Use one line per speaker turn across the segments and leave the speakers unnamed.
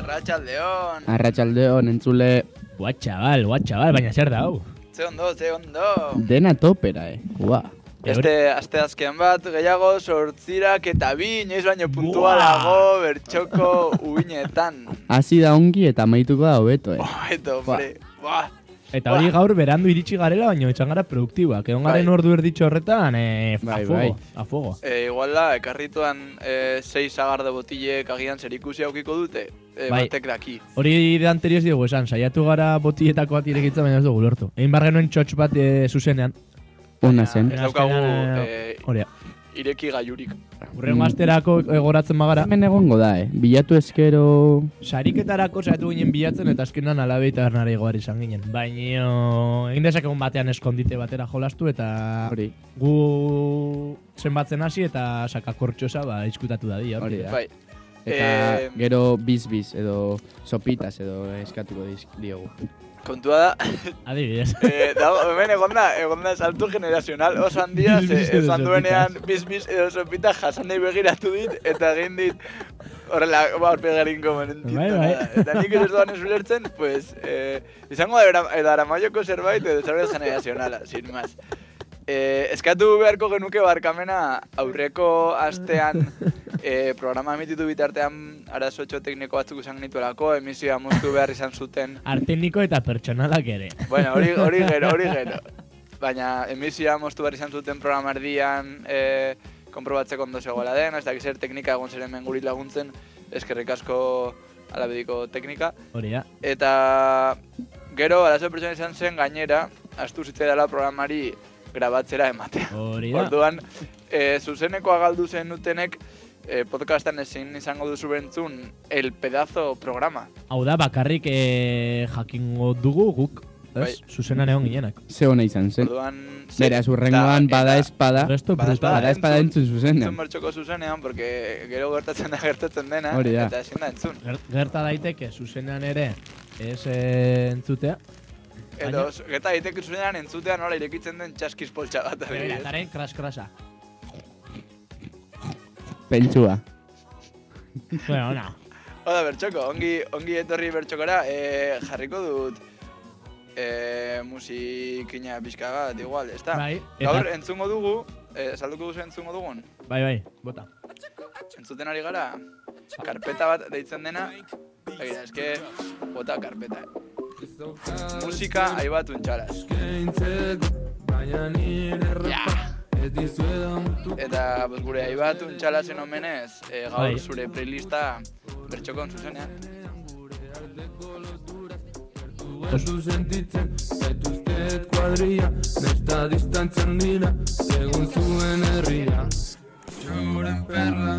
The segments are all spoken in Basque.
Arratxaldeon.
Arratxalde hon entzule
Ua, txabal, ua, txabal, baina zer da, hau?
Ze ondo, ze ondo.
dena topera, eh? Ua.
Beste aste azken bat, gehiago sortzirak eta bi, noiz baino puntua
Buah!
dago bertxoko uinetan.
Hasi da ongi eta amaituko da hobeto, eh?
Oeto, hombre. Buah.
Eta hori
Ua.
gaur berandu iritsi garela, baina etxan gara produktiboak. Egon garen
Bai.
ordu erditxo horretan, eh, a
Bai,
fuego,
bai.
a fuego.
E, igual da, ekarrituan e, sei sagar de botillek agian zer ikusi aukiko dute. E,
Bai.
Batek daki.
Hori de anteriorz diogu esan, saiatu gara botietako bat irekitzen, baina ez dugu lortu. Egin bar genuen txotx bat eh, zuzenean.
Ona zen.
Ez daukagu
Azkenean,
eh,
Hori,
ireki gaiurik. mm.
urrengo asterako egoratzen bagara.
Hemen egongo da, eh? Bilatu eskero...
Sariketarako saiatu ginen bilatzen eta azkenan alabe eta hernare igoar izan ginen. Baina egin dezakegun batean eskondite batera jolastu eta
Hori,
gu zenbatzen hasi eta sakakortxosa ba, izkutatu da di.
hori da.
Bai.
Eta
Eh,
gero biz-biz edo sopitas edo eskatuko diz- diogu.
Kontua da,
Adibidez.
Eh, dago, hemen egon da, egon da salto generazional oso handia, ze
Bizbiz edo
esan duenean
sopitas.
bizbiz edo sopita jasanei begiratu dit, eta egin dit, horrela, ba, horpegarin komenentit.
Bai, bai.
Eta nik ez duan ez ulertzen, pues, eh, izango da era- edo aramaioko zerbait edo zerbait generazionala, sin más. Eh, eskatu beharko genuke barkamena aurreko astean eh, programa emititu bitartean arazotxo tekniko batzuk izan genituelako, emisioa moztu behar izan zuten
Arteniko eta pertsonalak ere.
Bueno, hori, hori gero, hori gero. Baina emisioa moztu behar izan zuten programa erdian, eh, konprobatzeko ondo zegoela den, ez dakiz zer teknika egon ziren hemen guri laguntzen, eskerrik asko alabediko teknika.
Hori da.
Eta gero, arazo pertsona izan zen gainera, astu zitzaidala programari grabatzera ematea.
Hori da.
Orduan, eh, zuzenekoa galdu zen dutenek, eh, podcastan ezin izango duzu bentzun, el pedazo programa.
Hau da, bakarrik eh, jakingo dugu guk. Ez,
Bai.
zuzenan egon ginenak.
Ze hona izan zen.
Orduan, ze-
Beraz, urrengoan
eta-
bada espada,
Resto
Bada,
brutal.
bada Ba, espada
entzun-
entzun
entzun
zuzenean.
bertxoko zuzenean, porque gero gertatzen da gertatzen dena,
Hori da.
eta ezin da entzun.
Ger- Gerta daiteke, zuzenan ere, ez eh, entzutea.
Edo,
Baina-
zu- gerta daiteke zuzenean entzutean nola irekitzen den txaskiz poltsa bat.
Begira,
adibidez.
taren kras-krasa.
Pentsua.
Bueno, ona.
Oda, bertxoko, ongi, ongi etorri bertxokora, eh, jarriko dut eh, musikina pixka bat, igual, ez da?
Bai,
Gaur
eta-
entzungo dugu, eh, salduko duzu entzungo dugun,
Bai, bai, bota.
entzuten ari gara, karpeta bat deitzen dena, Begira, eske, bota karpeta. eh. Musika aibat untxaraz.
Baina nire repa Ez dizuedan tu
Eta pues, gure aibat untxala zen omenez, eh, gaur
Bai.
zure playlista bertxokon zuzenean.
Osu sentitzen Zaituztet kuadria Nesta distantzian dira Segun zuen herria Txauren perra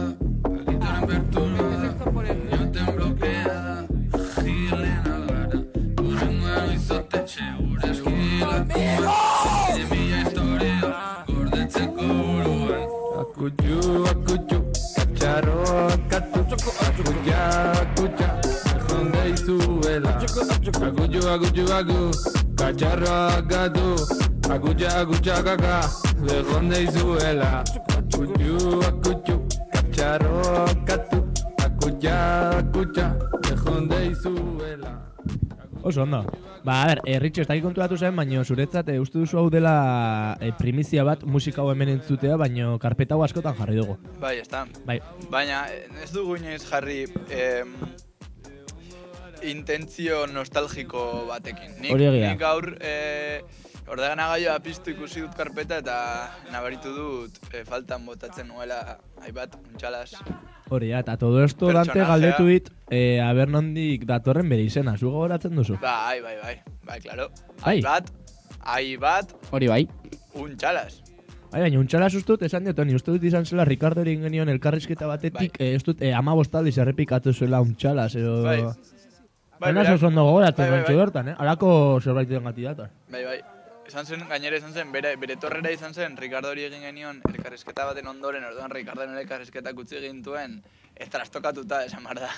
Agitaren bertolada Nioten blokeada Gilena gara Urrengoan izote Gure eskilakua Zire mila historia Gordetzeko buruan Akutxu, akutxu Katxarro, akatu Akutxa, akutxa Erronde izuela Akutxu, akutxu, aku Katxarro, akatu Akutxa, akutxa, kaka Erronde izuela Akutxu, akutxu Katxarro, akatu Akutxa, akutxa Erronde izuela
Oso ondo. Ba, a ber, eh, Richo, ez dakit kontuatu zen, baina zuretzat eh, uste duzu hau dela eh, primizia bat musika hau hemen entzutea, baina karpeta hau askotan jarri dugu.
Bai, ez da.
Bai,
Baina eh, ez dugu inoiz jarri em, intentzio nostalgiko batekin. Nik,
Hori egia.
nik gaur eh, ordeganagailua piztu ikusi dut karpeta eta nabaritu dut eh, faltan botatzen nuela aibat untxalas.
hori da, eta todo esto dante
Pertsonajea.
galdetu dit, eh, aber nondik datorren bere izena, zu gogoratzen duzu.
Bai, bai, bai, bai, klaro.
Bai.
Aibat, aibat
Hori bai,
untxalas.
Bai, baina untxala sustut, esan diot, ni uste dut izan zela Ricardo egin genion elkarrizketa
Bai.
batetik, eh, ez dut, eh, ama bostaldiz errepikatu zuela untxala, zeo...
Bai.
Bai,
berak-
oso ondo gogoratzen
Bai, bai,
gantxo
bai.
bertan, eh? Alako zerbait den gati dator.
Bai, bai. Izan zen, gainera izan zen, bere, bere torrera izan zen, Ricardo hori egin genion, elkarrizketa baten ondoren, orduan Ricardo nire elkarrizketak utzi gintuen, ez trastokatuta, esan behar da,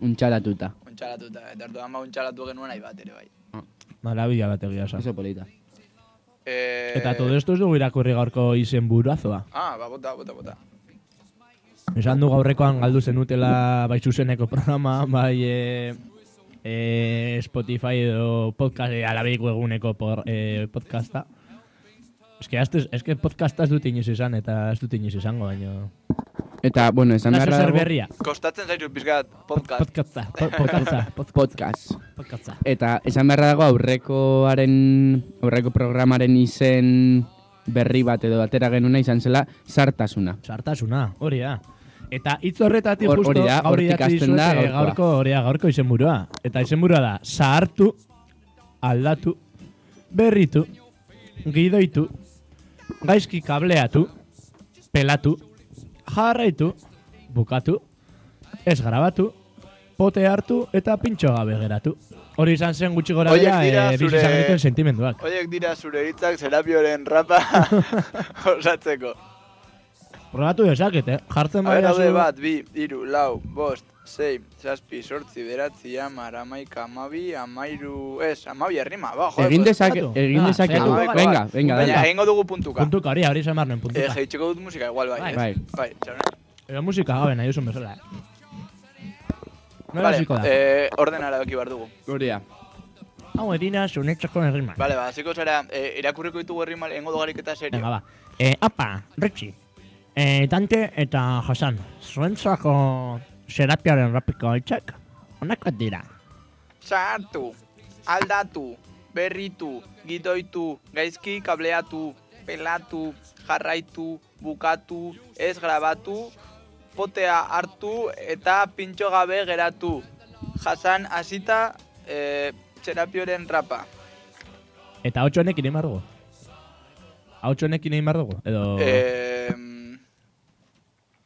untxalatuta.
untxalatuta, eta orduan ba untxalatu genuen nahi bat ere, bai.
Malabila bat egia esan.
Oso polita.
E...
Eta todo esto ez dugu irakurri gaurko izen buruazoa.
Ah, ba, bota, bota, bota.
Esan du gaurrekoan galdu zenutela bai zuzeneko programa, bai e, e, Spotify edo podcast, e, alabiko eguneko por, e, podcasta. Eske, azte, eske podcasta ez dut inoiz izan eta ez dut inoiz izango, baino.
Eta, bueno, esan
Naso
beharra
zer
dago
berria.
Kostatzen zaitu pizkat podcast.
Podcasta, po- podcasta, pod-
podcast.
podcasta.
Eta esan beharra dago aurrekoaren, aurreko programaren izen berri bat edo atera genuna izan zela sartasuna.
Sartasuna, hori da. Eta hitz horretatik
Hor-
justo
hori da,
gaur
hortik
idatzi
hasten
dizuet,
da
eh,
gaurkoa.
gaurko, hori da, gaurko izenburua. Eta izenburua da, zahartu, aldatu, berritu, gidoitu, gaizki kableatu, pelatu, jarraitu, bukatu, ez grabatu, pote hartu eta pintxo gabe geratu. Hori izan zen gutxi gora
Horiek
bera,
dira
e, bizi
zure-
izan genituen sentimenduak.
Oiek dira zure hitzak serapioren rapa osatzeko.
Probatu dezaket, eh? Jartzen
Aber,
badidazu-
daude
ba,
bat, bi, iru, lau, bost, sei, zazpi, sortzi, beratzi, amar, amaika, amabi, amairu... Ez, amabi arrima, ba, joder.
Egin dezake,
bukatu.
egin
Ah,
dezake,
saiatu,
bukatu.
venga, venga,
Baina,
dale.
egingo dugu puntuka.
Puntuka hori, hori izan behar nuen
Eh,
puntuka.
jaitsiko dut musika, igual, bai.
Bai.
ez?
Bai.
Bai, txarona.
Edo musika gabe nahi duzun bezala, eh? Nola
Vale,
hasiko da?
eh, ordena erabaki behar dugu.
Hori da.
Hau edina zunetxako herriman.
Bale, ba, hasiko zara, eh, irakurriko ditugu herrimal, egingo du gariketa
Venga,
serio.
ba. Eh, apa, Richie. Eh, Dante eta Hasan, zuentzako serapiaren rapiko hitzak, honakoak dira.
Sartu, aldatu, berritu, gidoitu, gaizki kableatu, pelatu, jarraitu, bukatu, ez grabatu, potea hartu eta pintxo gabe geratu. Jasan hasita, eh, txerapioren rapa.
Eta hau honek egin behar dugu. Hau honek egin behar dugu,
Oh.
edo...
Eh,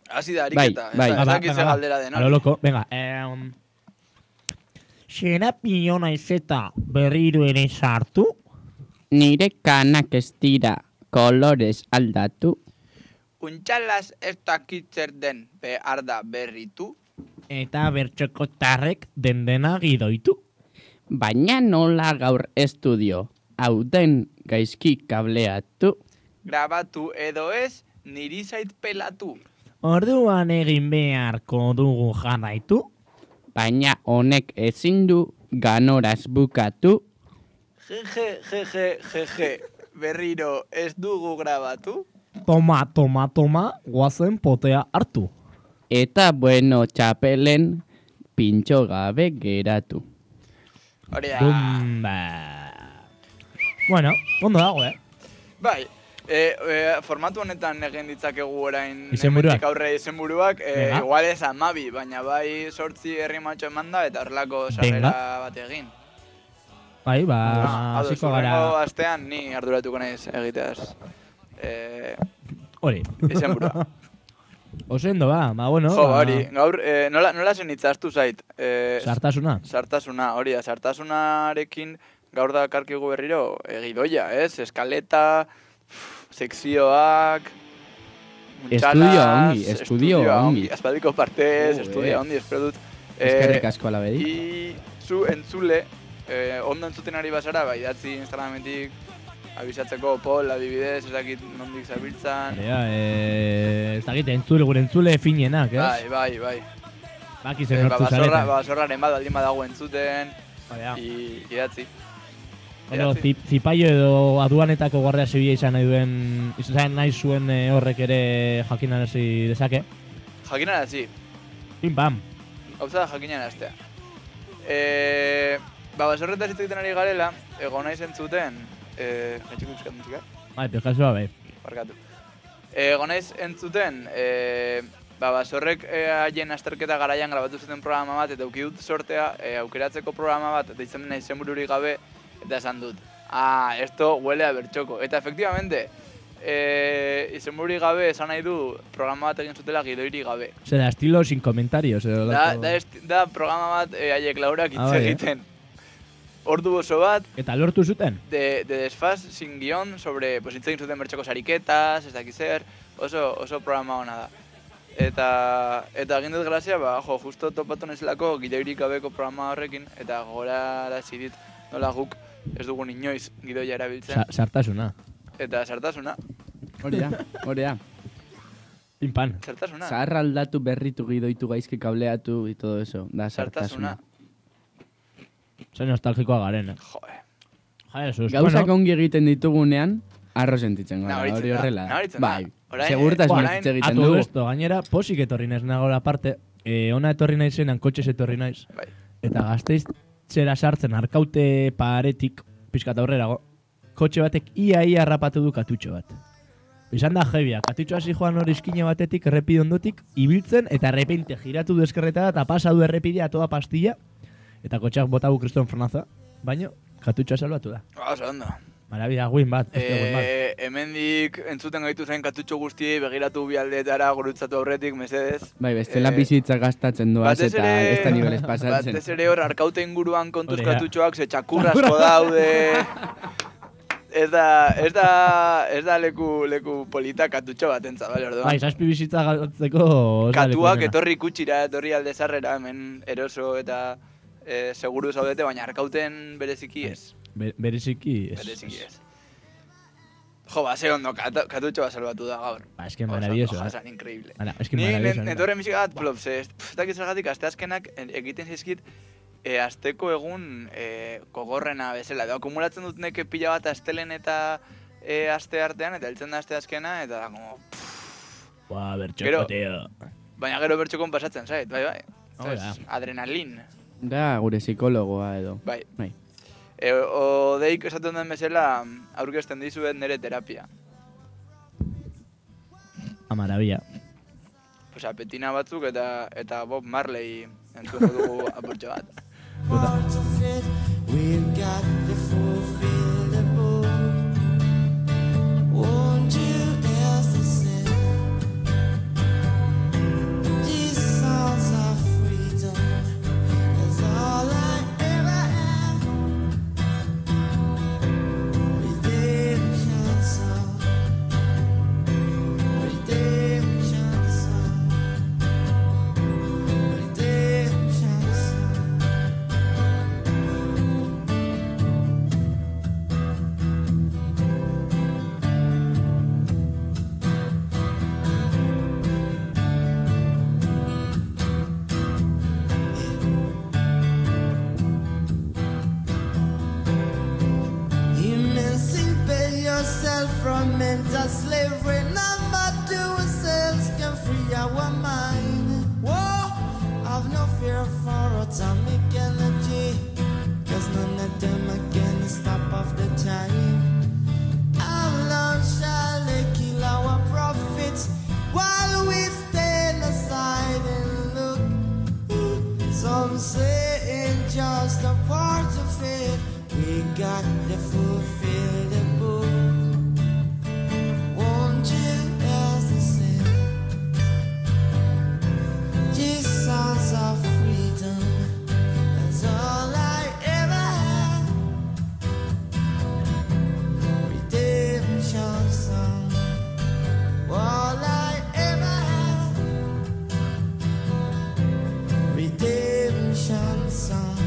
hasi da,
Bai,
ariketa.
bai.
Ez da-
Ba,
ez
ba,
dakit
venga,
ze
ba.
galdera den,
A lo
hori.
loko, venga. Em, Serapio naiz eta berriro ere sartu,
Nire kanak ez dira kolorez aldatu.
Untxalaz ez dakitzer den behar da berritu.
eta bertxoko tarrek dendena gidoitu.
Baina nola gaur estudio, hauden gaizki kableatu,
Grabatu edo ez, niri zait pelatu.
Orduan egin beharko dugu jarraitu.
baina honek ezin du ganoraz bukatu,
Jeje, jeje, jeje. Berriro ez dugu grabatu.
Toma, toma, toma, guazen potea hartu.
eta bueno txapelen pintxo gabe geratu.
Hori da.
Bumba. Bueno, ondo dago, eh?
Bai. E, e, formatu honetan egin ditzakegu orain
Izenburuak.
hemendik aurre izenburuak, e,
Venga.
igual ez amabi, baina bai sortzi herri matxo eman da eta horrelako sarrera bat egin.
Bai, ba,
Ah, ados,
hasiko
hurrengo
gara.
astean ni arduratuko naiz egiteaz. Eh,
Hori.
izenburua.
Osendo, ba, ba, bueno.
jo,
ba,
hori, gaur, eh, nola, nola zen itzaztu zait? Eh,
Sartasuna.
sartasuna, hori da, sartasunarekin gaur da karkigu berriro egidoia, ez? Eskaleta, pff, sekzioak, muntxalaz,
Estudio ongi, estudio
estudioa
ongi.
Aspaldiko partez,
Jo,
estudio
eh.
ongi, espero dut.
Eskerrik asko ala bedi.
I, zu entzule, eh, ondo entzuten ari bazara, bai, datzi Instagrametik, abisatzeko, pol, adibidez, ez dakit nondik zabiltzan.
Ba, Ja, eh, ez dakit entzule, gure entzule finenak, ez?
Bai, bai, bai.
Baki
Eh,
zen
ba,
hartu
basorra,
zareta.
basorraren bat, aldin badago entzuten,
Hori da.
i, idatzi.
Bueno,
idatzi.
zip- zipaio edo aduanetako guardia zibila izan nahi duen, izan nahi zuen eh, horrek ere jakinarazi dezake.
Jakinarazi,
Pim pam.
Gauza da jakinan astea. E, ba, basorretaz hitz egiten ari garela, egon naiz entzuten... E, Gaitxiko euskat musika?
Bai, pijazua bai.
Barkatu. E, egon naiz entzuten... E, ba, basorrek e, haien azterketa garaian grabatu zuten programa bat, eta euki dut sortea e, aukeratzeko programa bat, eta izan nahi zenbururik gabe, eta esan dut. Ah, esto huele a bertxoko. Eta efectivamente, e, izenbururik gabe esan nahi du programa bat egin zutela gidoirik gabe.
Zera, estilo sin comentarios. Edo,
Da,
lako-
da, esti- da programa bat eh, haiek laurak hitz
Ah, bai, eh?
egiten. Ordu oso bat,
Eta lortu zuten?
de, de desfaz, sin guion, sobre, pues hitz egin zuten bertxeko sariketas, ez dakiz zer, oso, oso programa ona da. Eta, eta egin dut grazia, ba, jo, justo topatu nezelako gidoirik gabeko programa horrekin, eta gora dit nola guk ez dugun inoiz gidoia erabiltzen,
Sa- Sartasuna.
eta sartasuna.
Hori da, hori da.
Inpan.
Zertasuna.
Zaharra aldatu berritu gidoitu gaizki kableatu y todo eso. Da
Zertasuna.
zartasuna.
Zer nostalgikoa garen, eh?
Joe.
Jare, sus,
Gauzak
bueno,
ongi egiten ditugunean, arro sentitzen gara,
Nabaritzen
hori
da,
horrela. da.
nabaritzen
Bai,
da. Orain,
segurtasun
eh,
hitz egiten
atu
dugu.
esto, gainera, posik etorri naiz nagola parte, eh, ona etorri naizenan kotxez etorri naiz.
Bai.
Eta gazteiz zera sartzen arkaute paretik, pixkat aurrerago, kotxe batek ia ia rapatu du katutxo bat. Izan da jebia, katutxo hasi joan hori iskine batetik, errepide ondotik, ibiltzen eta errepeinte giratu du eskerretara eta pasa du errepidea toda pastilla, eta kotxeak bota du kriston frenaza, baino katutxoa salbatu da.
Oso ondo.
Marabida, win bat, beste win bat.
Eh, hemendik entzuten gaitu zen katutxo guztiei begiratu bialdeetara gurutzatu aurretik, mesedez.
Bai, bestela
Eh,
bizitza gastatzen duaz
batez
eta
ere-
ez da nivelez pasatzen.
Batez ere hor arkaute inguruan kontuz
Hori da.
katutxoak ze txakurrasko daude. Ez da, ez da, ez da leku, leku polita katutxo bat entza, bale, orduan.
Bai, zazpi bizitza galtzeko... oso
Katuak
leku onena.
etorri kutxira, etorri alde zarrera, hemen eroso eta e, seguru zaudete, baina arkauten bereziki ez.
Be bereziki... Bai, ez-
Bereziki ez. Jo, ba, ze ondo, katu- katutxo bat salbatu da gaur.
Ba, eske
Oso ondo,
maravilloso, eh?
jasan, increíble.
Ara, eski
Ni
maravilloso. nena.
netorre misika bat plops, ez pf, ez dakit zergatik asteazkenak e- egiten zizkit e, asteko egun e, kogorrena bezala. Edo akumulatzen dut neke pila bat astelen eta e, aste artean, eta heltzen da asteazkena, eta da, como, pff,
Ua,
Gero-
bertxoko, teo.
baina gero bertxokon pasatzen zait, bai, bai.
Hau da.
Entonces, Adrenalin,
Da gure psikologoa edo.
bai.
Bai.
E, odeik esaten den bezala aurkezten dizuet nire
A
terapia.
Ah, maravilla.
Osea, petina batzuk eta eta Bob Marley entzungo dugu apurtxo bat.
part of it. We've got to fulfill the book. Won't you else listen? These songs of freedom is all I ever am. Redemption song. Redemption song. Redemption song. Emancipate yourself from mental slavery. Number two ourselves can free our mind. Whoa, have no fear for atomic energy. Cause none of them are gonna stop off the time. Alone shall they kill our prophets while we stand aside and look. Some say it's just a part of it. We got to fulfill the book. Won't you else listen? These songs of freedom is all I ever had. Redemption song, all I ever had. Redemption song,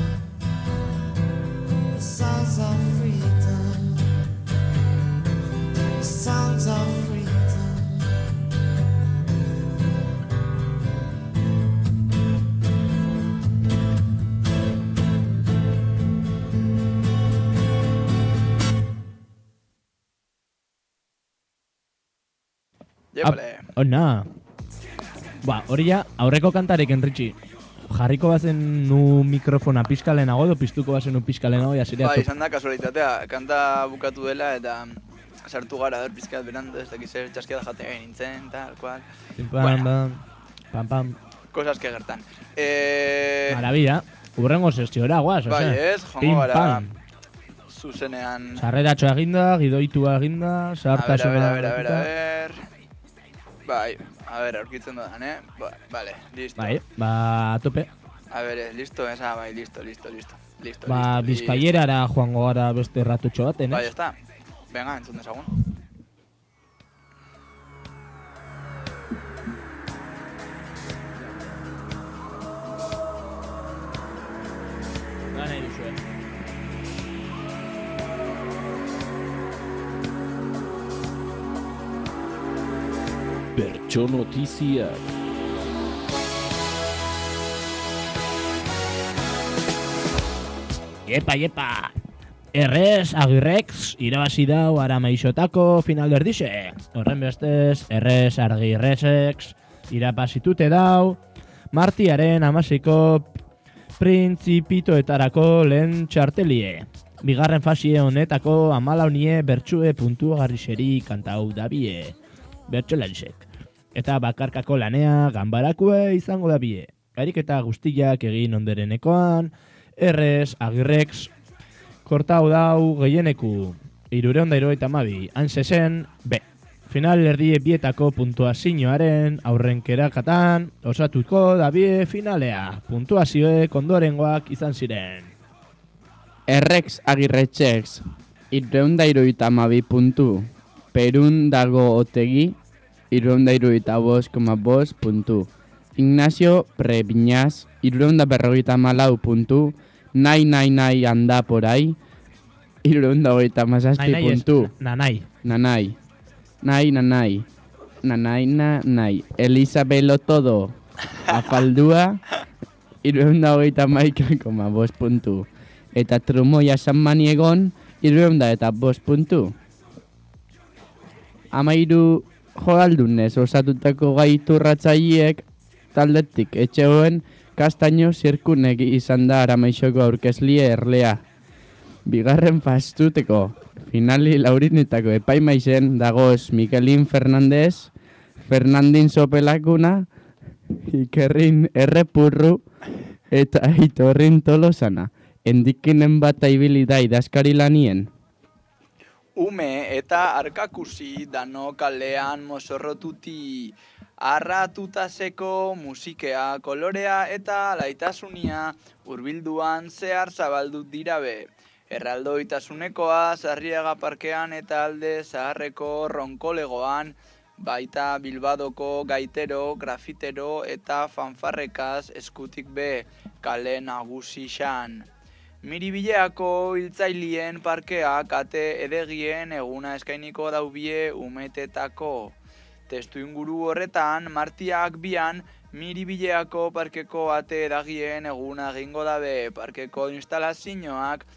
the songs of freedom, the songs of freedom.
Jepale.
Ona. Ba, Ah, hori ja, aurreko kantarek enritxi. Jarriko bazen nu mikrofona pizka lehenago edo piztuko bazen nu pizka lehenago ja zirea.
Ba, izan da kasualitatea, kanta bukatu dela eta sartu gara hor pizkat berandu, ez dakiz zer, txaskia da jatea nintzen, tal, kual, Bai.
Pam, pam, pam, pam.
kosas que gertan. Eh,
Maravilla. Urrengo sestiora, guaz,
Bai,
osea.
ez, joango
Ah, Pim,
gara.
pam.
zuzenean...
Sarreratxo eginda, gidoitua eginda,
A ber, a
zahartasuna.
ber, a ber, a ber, a ber... Bai, a ber, aurkitzen dudan, eh? Ba, vale, listo.
Bai, ba, a tope.
A ber, eh, listo, esa, bai, listo, listo, listo. Listo,
Ba,
listo,
bizkaierara joango gara beste ratutxo baten, eh?
listo. Bai,
ez?
ya está. Venga, entzun desagun.
Bertxonotiziak.
Iepa, iepa! Errez, agirrex, irabazi dau aramaixotako finalerdixe. Horren bestez, errez, argirrezex, irabazitute dau, martiaren amasiko printzipitoetarako lehen txartelie. Bigarren fasie honetako amalaunie bertsue puntu garriseri kantau dabie. Bertxolarisek. Eta bakarkako lanea ganbarakue izango dabie. Ariketa guztiak egin onderenekoan, errez, agirrex, kortau dau gehieneku. Irureonda iroita mabi, han zezen, B. Final erdie bietako puntuazioaren aurrenkerakatan osatuko dabie finalea. Puntuazioek ondorengoak izan ziren.
Errex agirretxex, irreunda iruita amabi puntu. Perun dago otegi, irreunda iruita bost koma bost puntu. Ignacio Prebiñaz, irreunda berrogeita malau puntu. Nai, nai, nai, handa porai, irreunda hogeita mazazpi
ez,
puntu.
Nanai.
Nanai. Nai, nanai. Nanai, nanai. Elisabelo todo. Afaldua. Irueunda hogeita maika koma bost puntu. Eta trumoia san maniegon. Irueunda eta bost puntu. Amairu jodaldunez osatutako gai turratzaileek taldetik etxeoen kastaino zirkunek izan da aramaixoko aurkezlie erlea bigarren fastuteko finali laurinetako epaimaizen dagoz Mikelin Fernandez, Fernandin Sopelakuna, Ikerrin Errepurru eta Aitorrin Tolosana. Endikinen bat ibili da idazkari lanien.
Ume eta arkakusi dano kalean mozorrotuti arratutaseko musikea, kolorea eta laitasunia hurbilduan zehar zabaldu dira be. Erraldoitasunekoa, Sarriaga parkean eta alde zaharreko ronkolegoan, baita Bilbadoko gaitero, grafitero eta fanfarrekaz eskutik be kale nagusi xan. Miribileako hiltzailien parkeak ate edegien eguna eskainiko daubie umetetako. Testu inguru horretan, martiak bian, miribileako parkeko ate edagien eguna egingo dabe parkeko instalazioak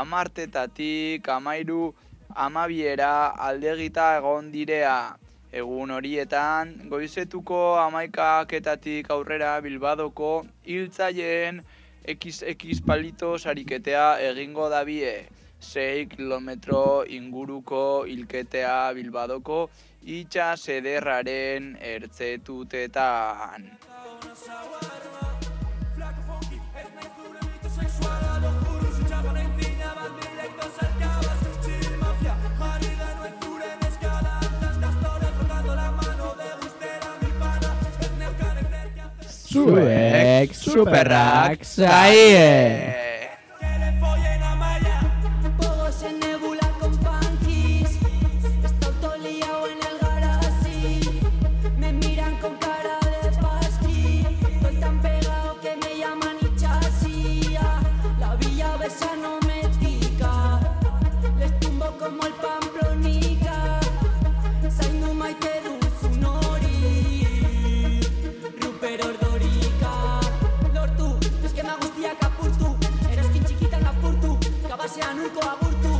amartetatik amairu amabiera aldegita egon direa. Egun horietan, goizetuko amaikaketatik aurrera bilbadoko hiltzaileen XX palito sariketea egingo dabie. 6 kilometro inguruko hilketea bilbadoko itxas ederraren ertzetutetan.
Zuek, superrak, zaie!
Eh,
Pogos en nebula con panties Está auto liao en el garaje Me miran con cara de pasqui Estoy tan pegado que me llaman Ichasia La villa besa no me tica Les tumbo como el pamplonica Zaindu maite duzun hori Ruper ordorika Lortu, eskema guztiak apurtu Eroskin txikitan apurtu Kabasean urko agurtu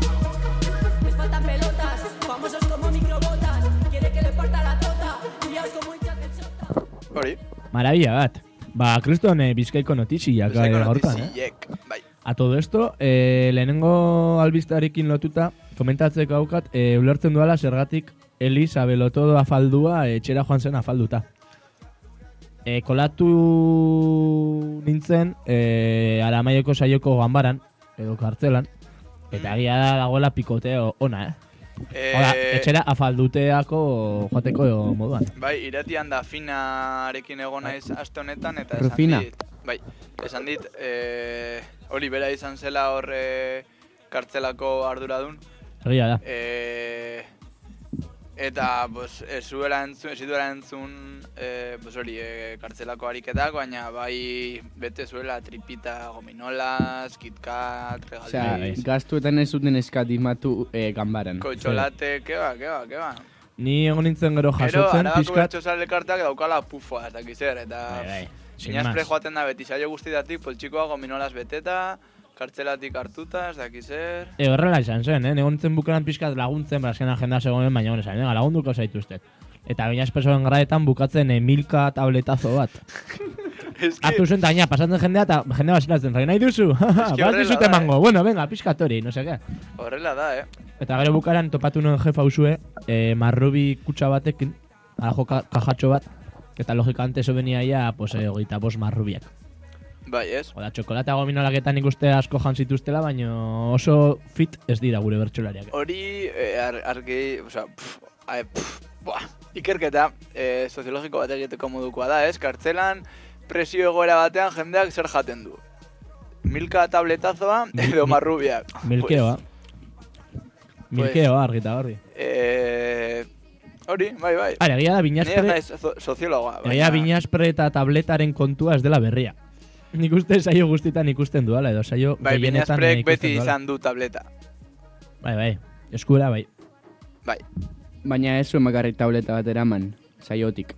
Les faltan pelotas Famosos como microbotas Quiere que le parta la tota Criaos como hinchas del Sota
Hori,
Marabila bat. Ba, kriston eh, bizkaiko notiziak eh,
bizkaiko
gaurkoan, eh?
notiziek, bai.
A todo esto, eh, lehenengo albiztarekin lotuta, komentatzeko haukat, eh, ulertzen duala zergatik Elisa Belotodo afaldua eh, etxera joan zen afalduta. Eh, kolatu nintzen eh, Aramaioko saioko ganbaran, edo kartzelan, eta agia da dagoela pikoteo ona, eh?
Mm. Eh,
Hola, etxera afalduteako joateko moduan.
Bai, iratian da finarekin egon naiz aste honetan eta
Rufina.
esan dit. Bai, esan dit, eh, hori bera izan zela hor eh, kartzelako arduradun.
Egia da.
Eh, eta, pues, ez zuela entzun, ez zituela entzun, eh, pues hori, eh, kartzelako ariketak, baina bai bete zuela tripita gominolas, kitkat,
Osea,
Bai,
regaliz,
gastuetan ez zuten eskatimatu eh, ganbaran.
ba, kotxolate, keba, keba, keba.
Ni egon nintzen gero
Gero,
jasotzen,
arabako
pixkat.
bertxozal elkarteak daukala pufoa, ez dakiz zer, eta...
Bai, bai, sin
Zinaz
más.
pre joaten da beti, saio guztietatik, poltsikoa gominolaz beteta, kartzelatik hartuta, ez dakiz zer...
E, horrela izan zen, eh? Egon nintzen bukaran pixkat laguntzen, brazken agenda zegoen, baina hori esan, venga, lagunduko zaituztet. Eta baina espesoen gradetan bukatzen emilka tabletazo bat.
Ez
Hartu
que,
zen taina, pasatzen jendea eta jendea basilatzen, zari nahi duzu, bat
horrela bai.
dizut
da,
emango, bueno, venga, pixkat hori, no seke.
horrela da, eh.
Eta gero bukaran topatu nuen jefa usue, eh, marrubi kutsa batekin, alajo ka kajatxo bat, eta logikante eso benia ia, pues, eh, hogeita bost marrubiak.
Bai, ez.
Oda, txokolata gominolak eta nik uste asko jan zituztela, baina oso fit ez dira gure bertsolariak.
Hori, eh, ar, argi, oza, pff, ae, pff, buah, ikerketa eh, soziologiko bat egiteko modukoa da, ez? Kartzelan, presio egoera batean jendeak zer jaten du. Milka tabletazoa edo marrubiak.
Milkeoa. ah. Milkeoa, argita horri.
Pues, eh, hori, bai, bai.
Ara, egia da
Ni ez
binaspre,
naiz zo- soziologoa. bai.
egia binaspre eta tabletaren kontua ez dela berria. Nik uste saio guztietan ikusten duala, edo saio
Bai,
gehienetan
binasprek
ikusten
beti
duala.
izan du tableta.
Bai, bai, eskura bai.
Bai,
Baina ez zuen bakarrik tableta bat eraman, saiotik,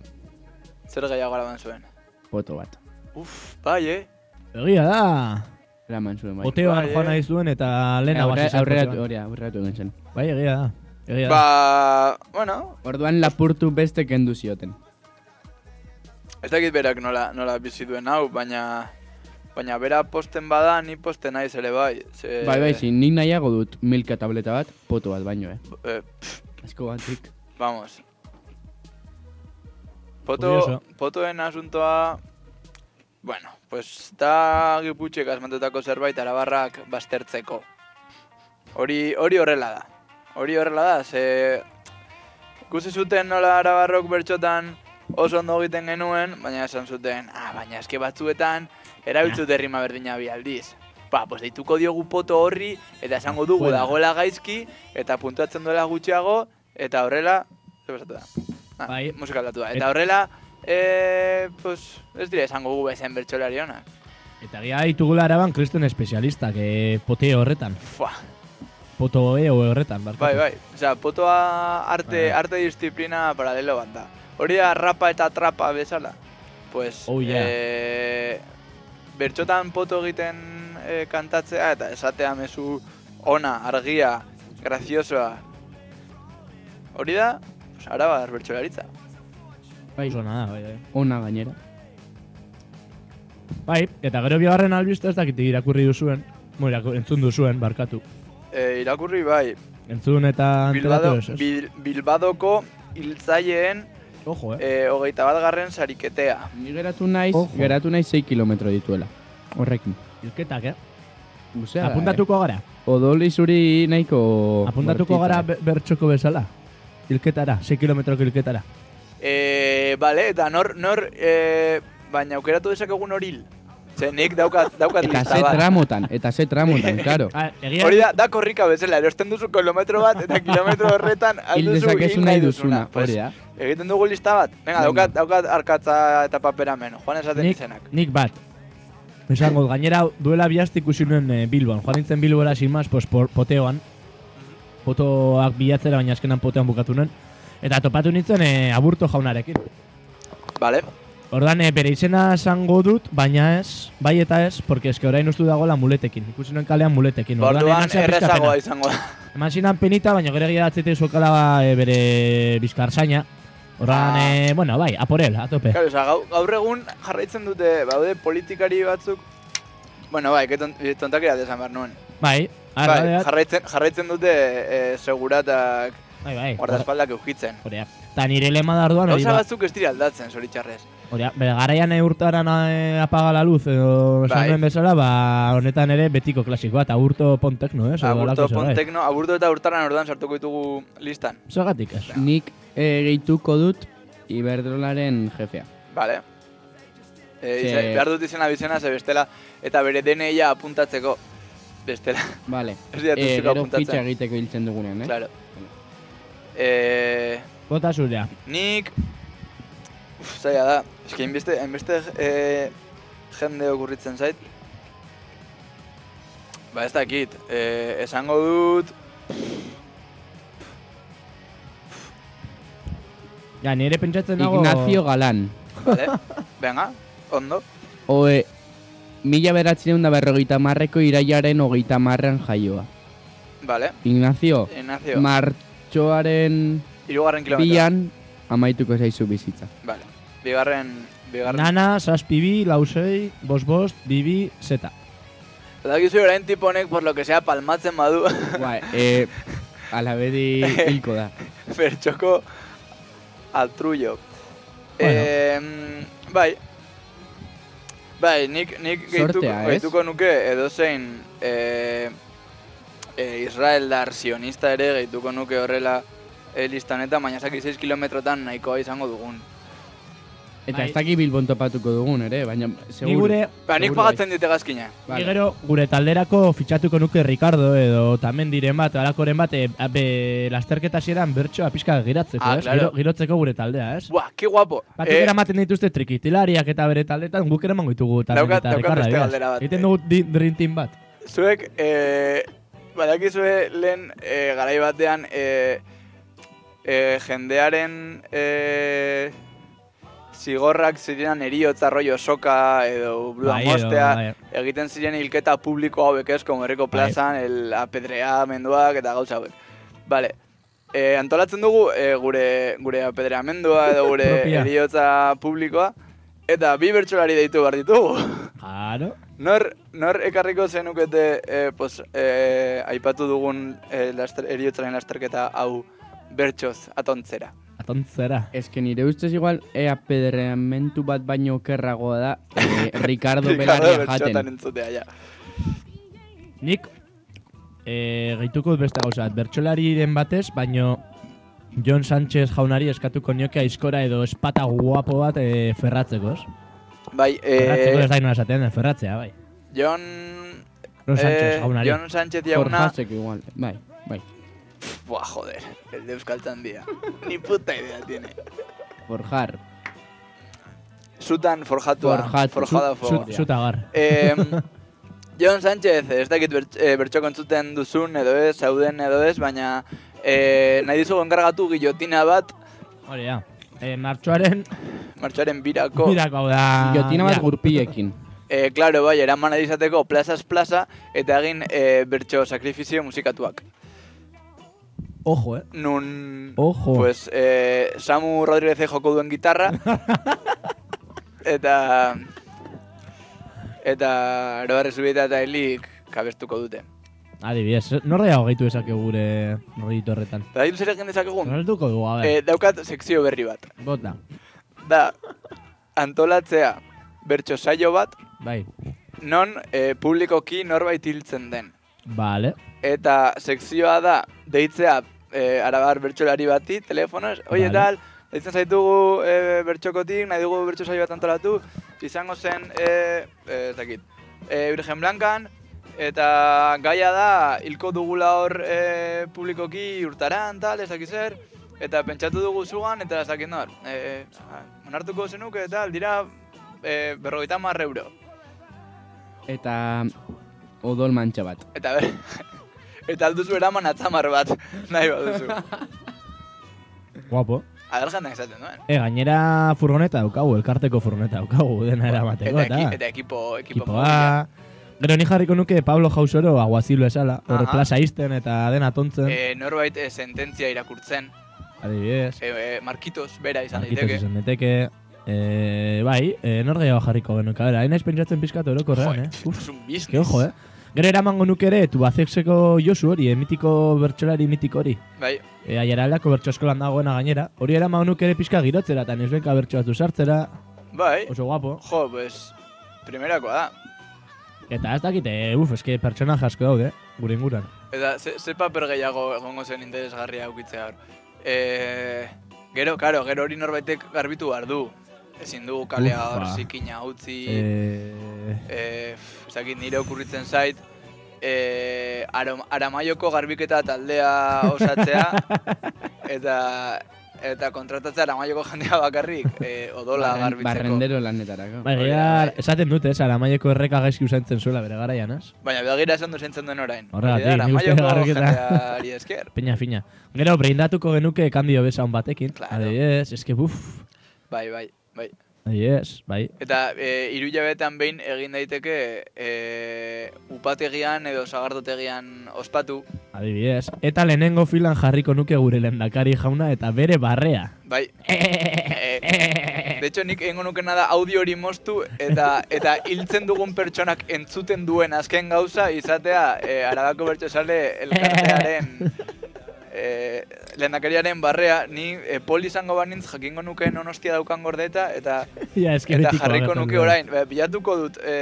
zer gehiago araban zuen.
foto bat.
Uf, bai, eh?
Egia da!
Eraman zuen bai.
Oteoan
Bai,
joan
eh.
nahi zuen eta lehen hau
Aurre,
hasi zen
aurreratu,
poteoan.
hori, aurreratu egin zen.
Bai, egia da. Egia da.
Ba, bueno,
Orduan lapurtu beste kendu zioten.
Ez dakit berak nola, nola bizi duen hau, baina... Baina bera posten bada, ni posten naiz ere bai. Ze,
Bai, bai, zin, nik nahiago dut milka tableta bat, poto bat baino, eh.
eh,
Asko batik.
vamos. Poto,
Curioso.
potoen asuntoa... Bueno, pues da giputxek asmatutako zerbait arabarrak baztertzeko. Hori, hori horrela da. Hori horrela da, ze... Ikusi zuten nola arabarrok bertxotan oso ondo egiten genuen, baina esan zuten, ah, baina eske batzuetan erabiltzut herrima berdina bi aldiz. Ba, pues deituko diogu poto horri, eta esango dugu
Fuera.
dagoela gaizki, eta puntatzen duela gutxiago, eta horrela, zer pasatu da? Ah,
Bai.
musika aldatu da. Eta horrela, eh, pues, ez dira esango gu bezen bertxolari honak.
Eta egia ditugula araban kristen espezialistak, eh, poteo horretan.
Fua,
Potoeo e horretan, barkatu.
bai, bai. Osea, potoa
Bai.
arte, arte disiplina paralelo bat da. Hori da rapa eta trapa bezala. Pues,
Oh, yeah.
eh, bertxotan poto egiten eh, kantatzea eta esatea mezu ona, argia, graziosoa. Hori da, pues, arabar bertxolaritza.
Bai. Oso nada, bai, bai.
Ona gainera.
Bai, eta gero bigarren albiste ez dakit irakurri duzuen. Mo, irakur, entzun duzuen, barkatu.
Eh, irakurri bai,
Entzun eta
Bilbado,
enteratu ez. ez.
Bil- Bilbadoko hiltzaileen
Ojo, eh.
eh, hogeita bat garren sariketea.
Ni geratu naiz,
Ojo.
geratu naiz 6 kilometro dituela. Horrekin.
Ilketak, eh.
Luzea, da,
Apuntatuko gara.
Eh? Odoli zuri nahiko...
Apuntatuko
bortitza,
gara
eh.
be- bertxoko bezala. Ilketara, 6 kilometroko ilketara.
Eh, bale, eta nor, nor, eh, baina aukeratu dezakegun horil. Ze nik daukat, daukat
Eta
lista
ze
bat.
tramotan, eta ze tramotan, klaro.
Ah, egia
Hori da, da korrika bezala, erosten duzu kilometro bat, eta kilometro horretan
Hil
alduzu
dezakezu
hil
nahi duzuna,
Pues,
hori da.
egiten dugu lista bat. Venga, daukat, daukat arkatza eta paperamen, Juan esaten
nik,
izenak.
nik bat. Esango, dut, gainera duela bihazte ikusi nuen eh, Bilbon. Joan nintzen Bilbora sin mas, pues, por, poteoan. Potoak bilatzera, baina azkenan potean bukatu nuen. Eta topatu nintzen eh, aburto jaunarekin.
Bale,
Ordan eh, bere izena esango dut, baina ez, bai eta ez, porque eske orain ustu dagoela muletekin. Ikusi nuen kalean muletekin.
Ba,
zidan
orduan
pixka
errezagoa
pena.
izango da.
Eman zidan penita, baina gero egia datzete zokala eh, bere bizkarzaina. Ordan,
Ah.
eh, bueno, bai, aporel, atope.
Claro, osea, gau- gaur egun jarraitzen dute, baude politikari batzuk, bueno, bai, que ton- tontakeria desan behar nuen.
Bai, arra,
Bai,
bai,
jarraitzen, jarraitzen dute eh, seguratak
bai, bai.
guardaespaldak eukitzen.
Horea. Ta nire lema da orduan hori
Gauza
ba.
batzuk ez dira aldatzen, zoritxarrez.
Horea, bere garaian eh, urtaran eh, apaga la luz edo esan
Bai.
nuen bezala, ba, honetan ere betiko klasikoa, eta urto pontekno, eh? edo
Aburto,
holako zerbait.
Pontekno, Aburto eta Urtaran orduan sartuko ditugu listan.
Zergatik ez.
Nik eh, gehituko dut Iberdrolaren jefea.
Vale. E,
Ze-
izen, behar dut izena bizena, ze bestela, eta bere DNIa apuntatzeko. Bestela,
Vale.
ez
Eh,
dira tuziko
gero fitxa
apuntatzen.
egiteko hiltzen dugunean, eh?
Claro. E,
Bota zurea.
nik... Uf, zaila da. Ez que hainbeste, hainbeste eh, jende okurritzen zait. Ba, ez dakit. eh, E, esango dut...
Ja, nire pentsatzen dago...
Ignacio Galán.
Vale? Venga, ondo.
Oe, mila beratzireun da berrogeita marreko iraiaren hogeita marrean jaioa.
Vale.
Ignacio,
Ignacio,
martxoaren
irugarren kilometro.
bian amaituko zaizu bizitza.
Vale. Bigarren, bigarren.
Nana, saspibi, lausei, bosbost, bibi, zeta.
Badakizu orain tipo honek, por lo que sea, palmatzen badu,
Ba, e, alabedi hilko da.
bertxoko altruio.
Bueno.
Em, bai. Bai, nik, nik gehituko,
Zortea, ez?
gehituko nuke edozein eh, eh, Israeldar sionista ere gehituko nuke horrela eh, lista honetan, baina zaki 6 kilometrotan nahikoa izango dugun.
Eta
Bai.
ez daki bilbon topatuko dugun ere, baina seguru.
Ni gure,
Ba, nik
Seguro
pagatzen dite gazkina.
ni
Vale.
gero, gure talderako fitxatuko nuke Ricardo edo tamen diren bat, alakoren bat, e, a- be, lasterketa zieran bertsoa pixka giratzeko,
Ah,
ez?
claro.
Giro- girotzeko gure taldea, ez?
Buah, ki guapo.
Batzuk
Eh,
eramaten dituzte trikitilariak eta bere taldetan guk eraman goitugu tamen
Daukat-
eta
daukat
Ricardo,
beste
adibidez.
galdera bat. eh.
Egiten dugu di- dream team bat.
Zuek, e, badakizue lehen e, garai batean e, e, jendearen e, zigorrak zirenan eriotza rollo soka edo blua
Bai, edo,
mostea
bai.
egiten ziren hilketa publiko hauek ez, como herriko
Bai.
plazan, el apedreamenduak eta gauza hauek. Vale. E, antolatzen dugu e, gure, gure apedreamendua edo gure
Propia.
eriotza publikoa eta bi bertsolari deitu behar ditugu.
Claro.
Nor, nor ekarriko zenukete eh, pues, eh, aipatu dugun eh, laster, eriotzaren lasterketa hau bertsoz atontzera.
Atontzera.
Ez que nire ustez igual, E ea pedreamentu bat baino okerragoa da, e, Ricardo
Ricardo
Belarria
bertxotan
jaten.
entzutea, ja.
Nik e, gehituko dut beste gauza bat. Bertsolariren batez, baino John Sánchez jaunari eskatuko nioke aizkora edo espata guapo bat e, ferratzeko, ez?
Bai,
Ferratzeko
eh,
ez da inoa esaten, eh, ferratzea, bai.
John...
John Sánchez
eh,
jaunari.
John Sánchez jauna...
Jorjasek igual, bai, bai.
Buah, joder, el de Euskaltzan dia. Ni puta idea tiene.
Forjar.
Zutan forjatua,
Forjatu.
Zu-
forjada fuego.
Zutagar.
Eh, John Sánchez, ez dakit bert, e, bertxoko entzuten duzun edo ez, zauden edo ez, baina eh, nahi dizugu enkargatu gillotina bat
Hori da. E, martxoaren,
martxoaren birako.
mirako hau da...
Jotina bat
mira,
gurpilekin.
E, claro, bai, eraman ahal izateko plazaz plaza eta egin e, bertso sakrifizio musikatuak.
Ojo, eh?
Nun,
Ojo.
pues, e, Samu Rodríguez joko duen gitarra. eta... Eta erobarri zubita eta helik kabestuko dute.
Adibidez, norrea hogeitu ezake gure rollito horretan.
Eta hil zer egin dezakegun?
Norretuko dugu, a
E,
ber,
daukat sekzio berri bat.
bota.
Da, antolatzea bertso saio bat,
Bai,
non e, publikoki norbait hiltzen den.
vale.
Eta sekzioa da, deitzea eh, arabar bertsolari bati, telefonoz, oie
Vale.
tal, deitzen zaitugu eh, bertxokotik, nahi dugu bertso saio bat antolatu, izango zen, eh, eh, ez dakit, eh, Virgen Blankan, eta gaia da, hilko dugula hor eh, publikoki urtaran, tal, ez dakit zer, eta pentsatu dugu zugan, eta ez dakit nor, eh, onartuko zenuke, tal, dira, eh, berrogeita marre euro.
Eta odol mantxa bat.
Eta ber... Eta alduzu eraman atzamar bat, nahi baduzu.
Guapo.
Adelgandak esaten duen.
E, gainera furgoneta daukagu, elkarteko furgoneta daukagu dena eramateko,
Eta,
eta...
eki, eta ekipo, ekipo mobila.
Ekipoa... Gero ni jarriko nuke Pablo Jausoro aguazilo esala, hor
Aha.
plaza izten eta dena tontzen,
Eh, norbait eh, sententzia irakurtzen,
adibidez,
eh, eh, Marquitos bera izan
markitos
daiteke.
izan daiteke, Eh, bai, eh, nor gehiago jarriko genuke, bera, hain naiz pentsatzen pizkat orokorrean, eh? Uf,
es un
ke
business.
ojo, eh? Gero eramango nuke ere, tubazexeko Josu hori, eh, mitiko bertsolari mitiko hori.
Bai,
E, Aiaraldako bertso eskolan dagoena gainera, hori eramango nuke ere pixka girotzera, eta nesbenka bertso batu sartzera,
bai.
oso guapo.
Jo, pues, primerakoa da.
Eta ez dakite, uf, eske pertsona asko daude, gure inguran.
Eta ze, ze paper gehiago egongo zen interesgarria aukitzea hor. Eh, gero, karo, gero hori norbaitek garbitu behar du. Ezin dugu kalea hor
Ufa.
zikina utzi.
Eh,
eh, pff, ez dakit nire okurritzen zait, eh, Aram- aramaioko garbiketa taldea osatzea, eta eta kontratatzea aramaioko jendea bakarrik eh, odola
Barren-
garbitzeko.
Barrendero lanetarako.
Bai, gaia, esaten dut, ez, aramaieko erreka gaizki usaintzen zuela, bere garaian, ez?
Baina begira esan du zeintzen duen orain.
Horregatik,
Hori da,
nik uste
Aramaioko
garbiketa.
jendeari esker.
Peña fina. Gero, breindatuko genuke kandio besa hon batekin.
Claro.
Adibidez, eske buf.
Bai, bai, bai.
Adibidez, bai.
Eta e, hiru hilabetean behin egin daiteke e, upategian edo sagardotegian ospatu.
Adibidez. Eta lehenengo filan jarriko nuke gure lehendakari jauna eta bere barrea.
Bai. Eh, De hecho, nik egingo nukena da audio hori moztu eta eta hiltzen dugun pertsonak entzuten duen azken gauza izatea e, Arabako bertsozale elkartearen e, lehendakariaren barrea ni e, poli izango banintz jakingo nukeen onostia daukan gordeta eta
ja, eske
eta
betikoa
jarriko
gertatu
nuke
da.
orain Ba, bilatuko dut e,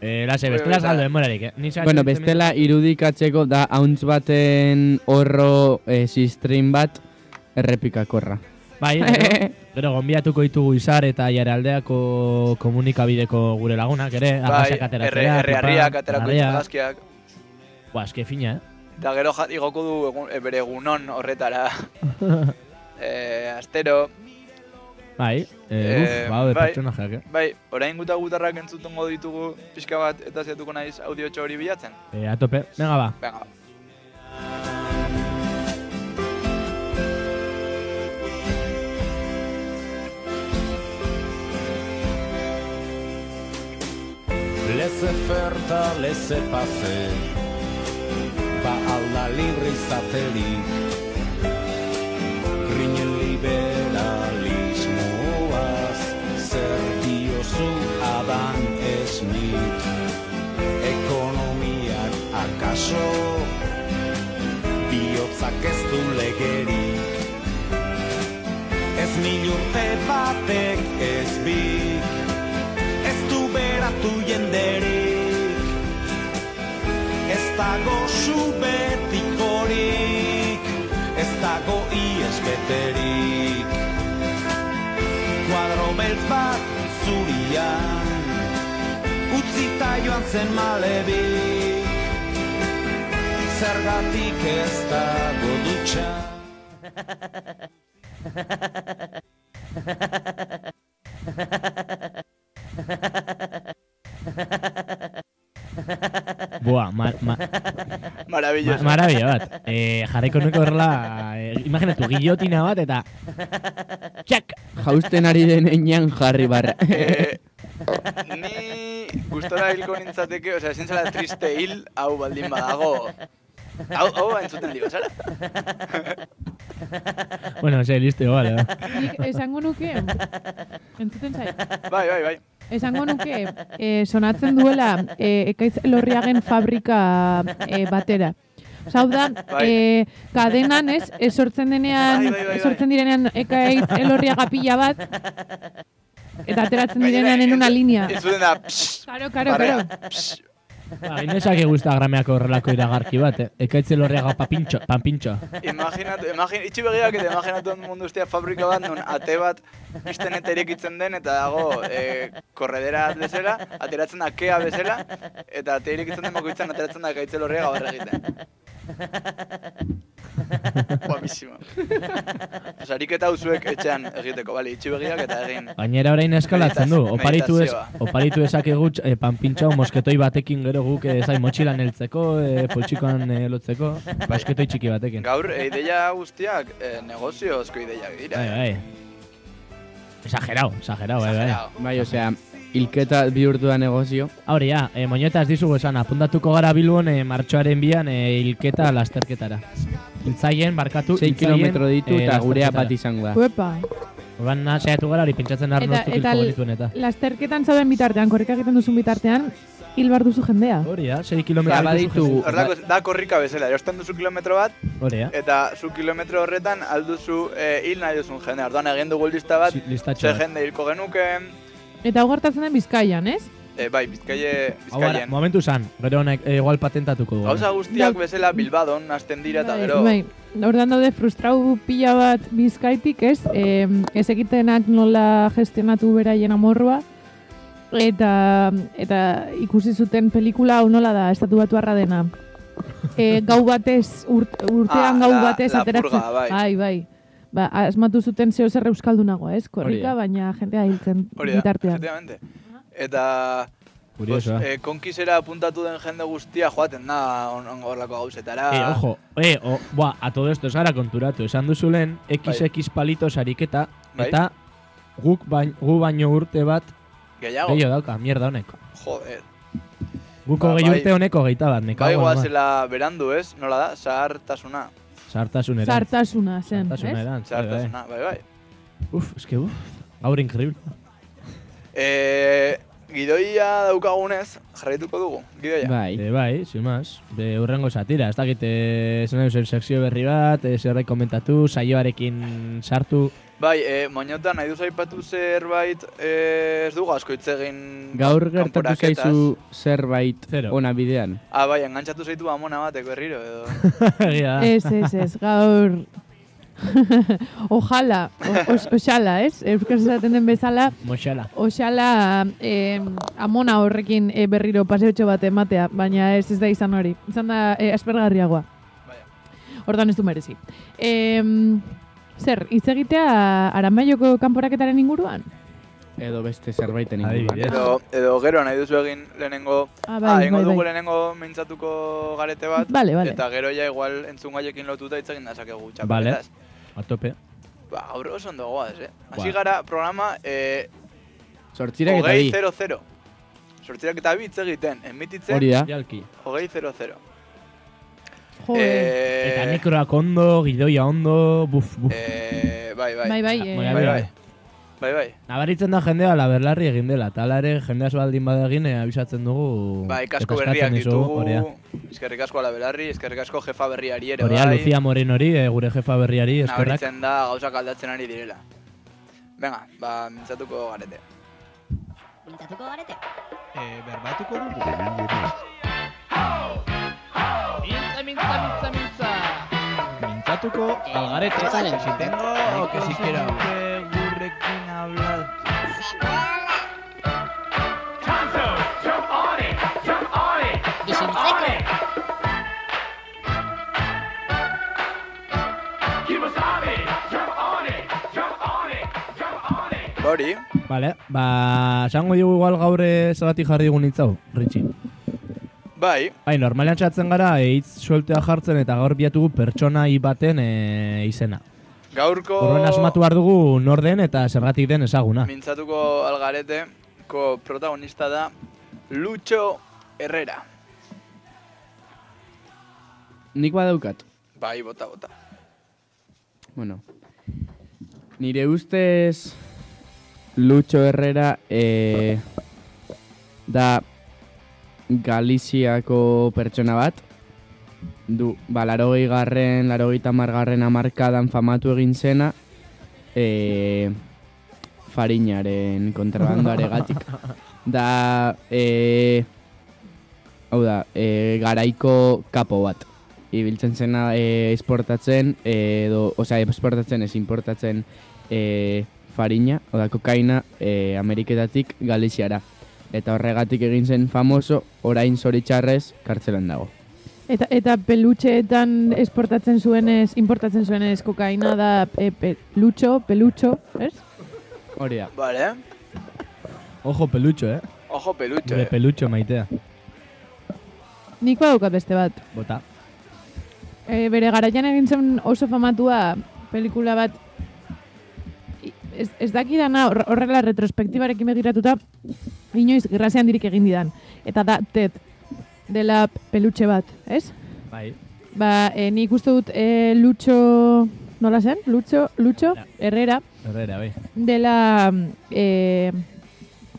Eh, lase, bestela
Bueno,
saldo demorarik, eh? Ni sa-
Bueno, bestela irudikatzeko da hauntz baten horro eh, sistrin bat errepikakorra.
Bai, gero, gero gonbiatuko ditugu izar eta jaraldeako komunikabideko gure lagunak ere.
bai,
arrasak
erre,
ateratzera,
errearriak
pipa,
aterako
arrea.
itxagazkiak
Buah, eske fina, eh?
Eta gero ja- igoko du egun, e, bere egunon horretara e, astero
Bai, eh,
Eh,
uf, ba, de
bai.
pertsonajeak, eh?
Bai, orain guta gutarrak entzutungo ditugu pixka bat eta zeatuko naiz audio hori bilatzen.
Eh, a tope. Venga, ba.
Venga,
Leze ferta, leze pase Ba alda libre izaterik Grinen liberalismoaz Zer diozu adan esnik Ekonomiak akaso Biotzak ez du legerik Ez mil urte batek ez bik ez du beratu jenderik Ez dago subetikorik Ez dago ies beterik Kuadro beltz bat zurian Utzita joan zen malebik Zergatik ez dago dutxan
Buah, ma, ma, ma,
maravilloso.
marabila bat. Eh, jarriko nuke horrela, eh, imaginatu, guillotina bat eta... Txak!
Jausten ari den enean jarri barra.
Eh, ni gustora hilko nintzateke, osea, ezin zela triste hil, hau baldin badago. Hau, hau entzuten digo, zara?
Bueno, ze, listo, igual, eh?
Nik esango nuke, entzuten zait,
Bai, bai, bai.
esango nuke eh, sonatzen duela eh, ekaitz lorriagen fabrika eh, batera. Osea, hau da,
Bai.
eh, kadenan ez, eh, sortzen denean,
Bai, bai, bai, bai.
sortzen direnean ekaitz elorriaga pila bat, eta ateratzen direnean en una linea.
Entzuten da, psh,
Karo, karo,
barrea,
karo.
psh.
Ba, Inesak Instagrameako horrelako iragarki bat, eh? Ekaitzen lorriaga papintxo, papintxo.
Imaginatu, imagin, itxi begiak eta imaginatu mundu ustea fabrika bat, non ate bat izten eta irekitzen den, eta dago e, korredera bat bezala, ateratzen da kea bezala, eta ate irekitzen den bakoitzan ateratzen da gaitzel horrega gabarra egiten. Guapísimo. Osarik eta uzuek etxean egiteko, bale, itxi begiak eta egin.
Gainera orain eskalatzen du,
Meditaz-
oparitu ez,
meditazioa.
oparitu ezakegu eh, panpintxo mosketoi batekin gero guk eh, zain motxilan heltzeko, eh, poltsikoan eh, lotzeko, basketoi txiki batekin.
Gaur, e, ideia guztiak e, negoziozko ideiak dira.
Bai, bai. Exagerao, exagerao, bai, bai.
Exagerado.
Bai, osea, hilketa bihurtu da negozio.
Hori ja, eh, moñeta ez dizugu esan, apuntatuko gara bilbon eh, martxoaren bian eh, hilketa lasterketara. Hiltzaien, barkatu,
6
hiltzaien,
kilometro ditu
eh,
eta gurea
lasterketara.
bat izango da.
Uepa.
Orduan na- saiatu gara hori pentsatzen arno
Eta,
zuk
eta
hilko genituen eta.
lasterketan zauden bitartean, korrika egiten duzun bitartean, hil bar duzu jendea.
Hori ja, 6 kilometro
Ba, baditu-
Horrelako, da korrika bezala, erosten duzu kilometro bat,
Hori eh? ja.
Eta zu kilometro horretan alduzu eh, hil nahi duzun jendea. Orduan egin dugu lista bat,
Si- listatxo
ze
bat.
jende hilko genuken,
Eta hau gertatzen den bizkaian, ez?
eh, bai, bizkaie,
Hau gara,
bizkaien.
momentu zan, gero honek eh, igual patentatuko dugu.
Gauza guztiak
Bai.
bezala Bilbadon hasten dira eta
Bai,
gero
Bai, ordan daude frustrau pila bat bizkaitik, ez? Eh, ez ekitenak nola gestionatu beraien amorrua. Eta, eta ikusi zuten pelikula hau nola da, estatu batuarra dena. E, gau batez, urt, urtean
Ah,
gau
la-
batez
la
ateratzen.
purga, bai.
bai, bai. ba, asmatu zuten zeo zer euskaldunagoa, ez? Korrika,
Hori da.
baina jendea hiltzen
Hori da,
bitartean.
efectivamente. Eta pues,
Kuriosoa.
eh, konkizera apuntatu den jende guztia joaten da on- on- horlako gauzetara.
E, ojo, e, o, boa, a todo esto ez gara konturatu. Esan duzu lehen, XX palitos ariketa,
Bai.
eta guk bain, gu baino urte bat
Gehiago,
gehiago dauka, mierda honek.
joder.
Guko
Ba,
gehi
bai.
urte honeko gehieta bat, neka
Bai, goazela berandu, ez? Nola da? Zahartasuna.
Sartasunera.
Zartasuna zen, ez?
Sartasunera.
Zahartasuna, bai, bai.
Uf, eske, uf. Gaur increíble.
E, gidoia daukagunez, jarraituko dugu, gidoia.
Bai.
E, bai, sin más. Be, urrengo satira, ez dakit, eh, esan edo zer sekzio berri bat, eh, zer komentatu, saioarekin sartu.
Bai, e, moñota, nahi duzu aipatu zerbait e, ez dugu asko hitz egin
Gaur gertatu
kanporaketaz.
zaizu zerbait
Zero.
ona bidean.
Ah, bai, engantzatu zaitu amona batek berriro edo. Ah.
Egia da.
Ez, ez, ez, gaur... Ojalá, o- os- oxala, ez? Euskaraz esaten den bezala,
Moxala.
oxala eh, amona horrekin eh, berriro paseotxo bat ematea, baina ez ez da izan hori. Izan da eh, aspergarriagoa.
Baina.
Hortan ez du merezi. Em, zer, hitz egitea Aramaioko kanporaketaren inguruan?
Edo beste zerbaiten
Adibidez.
inguruan.
edo. Edo gero nahi duzu egin lehenengo...
Ah,
ah, egingo dugu lehenengo mintzatuko garete bat.
Vale, vale.
Eta gero ja igual entzun gaiekin lotuta hitz egin dezakegu txapetaz.
Vale. A tope.
Ba, gaur oso ondo goaz, eh? Hasi
Ba.
gara programa eh,
Sortzirak eta bi.
hogei 00. Sortzirak eta bi hitz egiten, enmititzen,
Hori da.
Jalki.
hogei 00.
Jo,
Eh,
Eta mikroak ondo, gidoia ondo, buf, buf.
Eh, bai, bai.
bai, bai,
Ah,
eh,
baina
Bai, bai. Bai, bai.
Nabaritzen da jendea laberlarri egin dela, eta hala ere jendea baldin badegin eh, abisatzen dugu.
Bai, kasko
eta
berriak
eskatzen dizugu,
ditugu.
Horea,
Eskerrik asko ala belarri, eskerrik asko jefa berriari ere.
horea
bai.
Lucia Moren hori, eh, gure jefa berriari, eskerrak.
Nabaritzen da gauzak aldatzen ari direla. Venga, ba, mintzatuko garete.
Mintzatuko garete.
Algarete, si tengo o que si quiero.
Hori,
Vale, ba, esango dugu igual gaur eh, zergatik jarri dugun hitz hau, Ritxi.
bai,
Bai, normalean txatzen gara, eh, hitz sueltea jartzen eta gaur biatugu pertsona baten eh, izena.
gaurko
Horren asmatu behar dugu nor den eta zergatik den ezaguna.
mintzatuko algarete, ko protagonista da Lucho Herrera.
Nik badaukat.
Bai, bota, bota.
Bueno. Nire ustez Lucho Herrera eh, da Galiziako pertsona bat. Du, ba, larogei garren, larogei tamargarren amarkadan famatu egin zena eh, farinaren kontrabandoaregatik. da, eh, hau da, eh, garaiko kapo bat ibiltzen zena e, esportatzen, e, edo, osea, esportatzen ez importatzen e, farina, oda kokaina e, Ameriketatik Galiziara. Eta horregatik egin zen famoso, orain zoritxarrez kartzelan dago.
Eta, eta pelutxeetan esportatzen zuenez, importatzen zuenez kokaina da e, pelutxo, pelutxo, ez?
Hori da.
Vale,
Ojo pelutxo, eh?
ojo pelutxo,
Gure
eh?
pelutxo maitea.
Nik badaukat beste bat.
Bota.
E, bere garaian egin zen oso famatua pelikula bat I- ez, ez dakidana hor- horrela retrospektibarekin begiratuta inoiz grazean dirik egin didan. Eta da TED dela pelutxe bat, ez?
Bai.
Ba, e, nik uste dut e, Lutxo, nola zen? Lutxo, Lutxo, Herrera,
Herrera, bai.
dela e,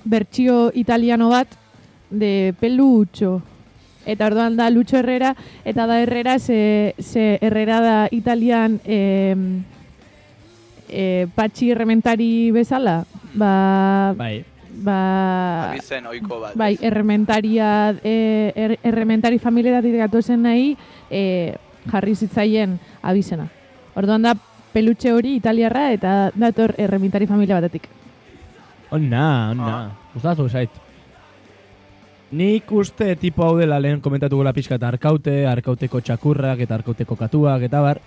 bertsio italiano bat de pelutxo. Eta orduan da Lutxo Herrera, eta da Herrera, ze, ze Herrera da italian e, e, patxi rementari bezala. Ba,
Bai.
ba,
Abizen oiko bat.
Bai, errementaria, e, er, errementari familietatik gatozen nahi e, jarri zitzaien abizena. Orduan da pelutxe hori italiarra eta dator errementari familia batetik.
Onna, onna.
Ah.
Gustatu zait. Nik uste tipo hau dela lehen komentatuko la pixka eta arkaute, arkauteko txakurrak eta arkauteko katuak eta bar.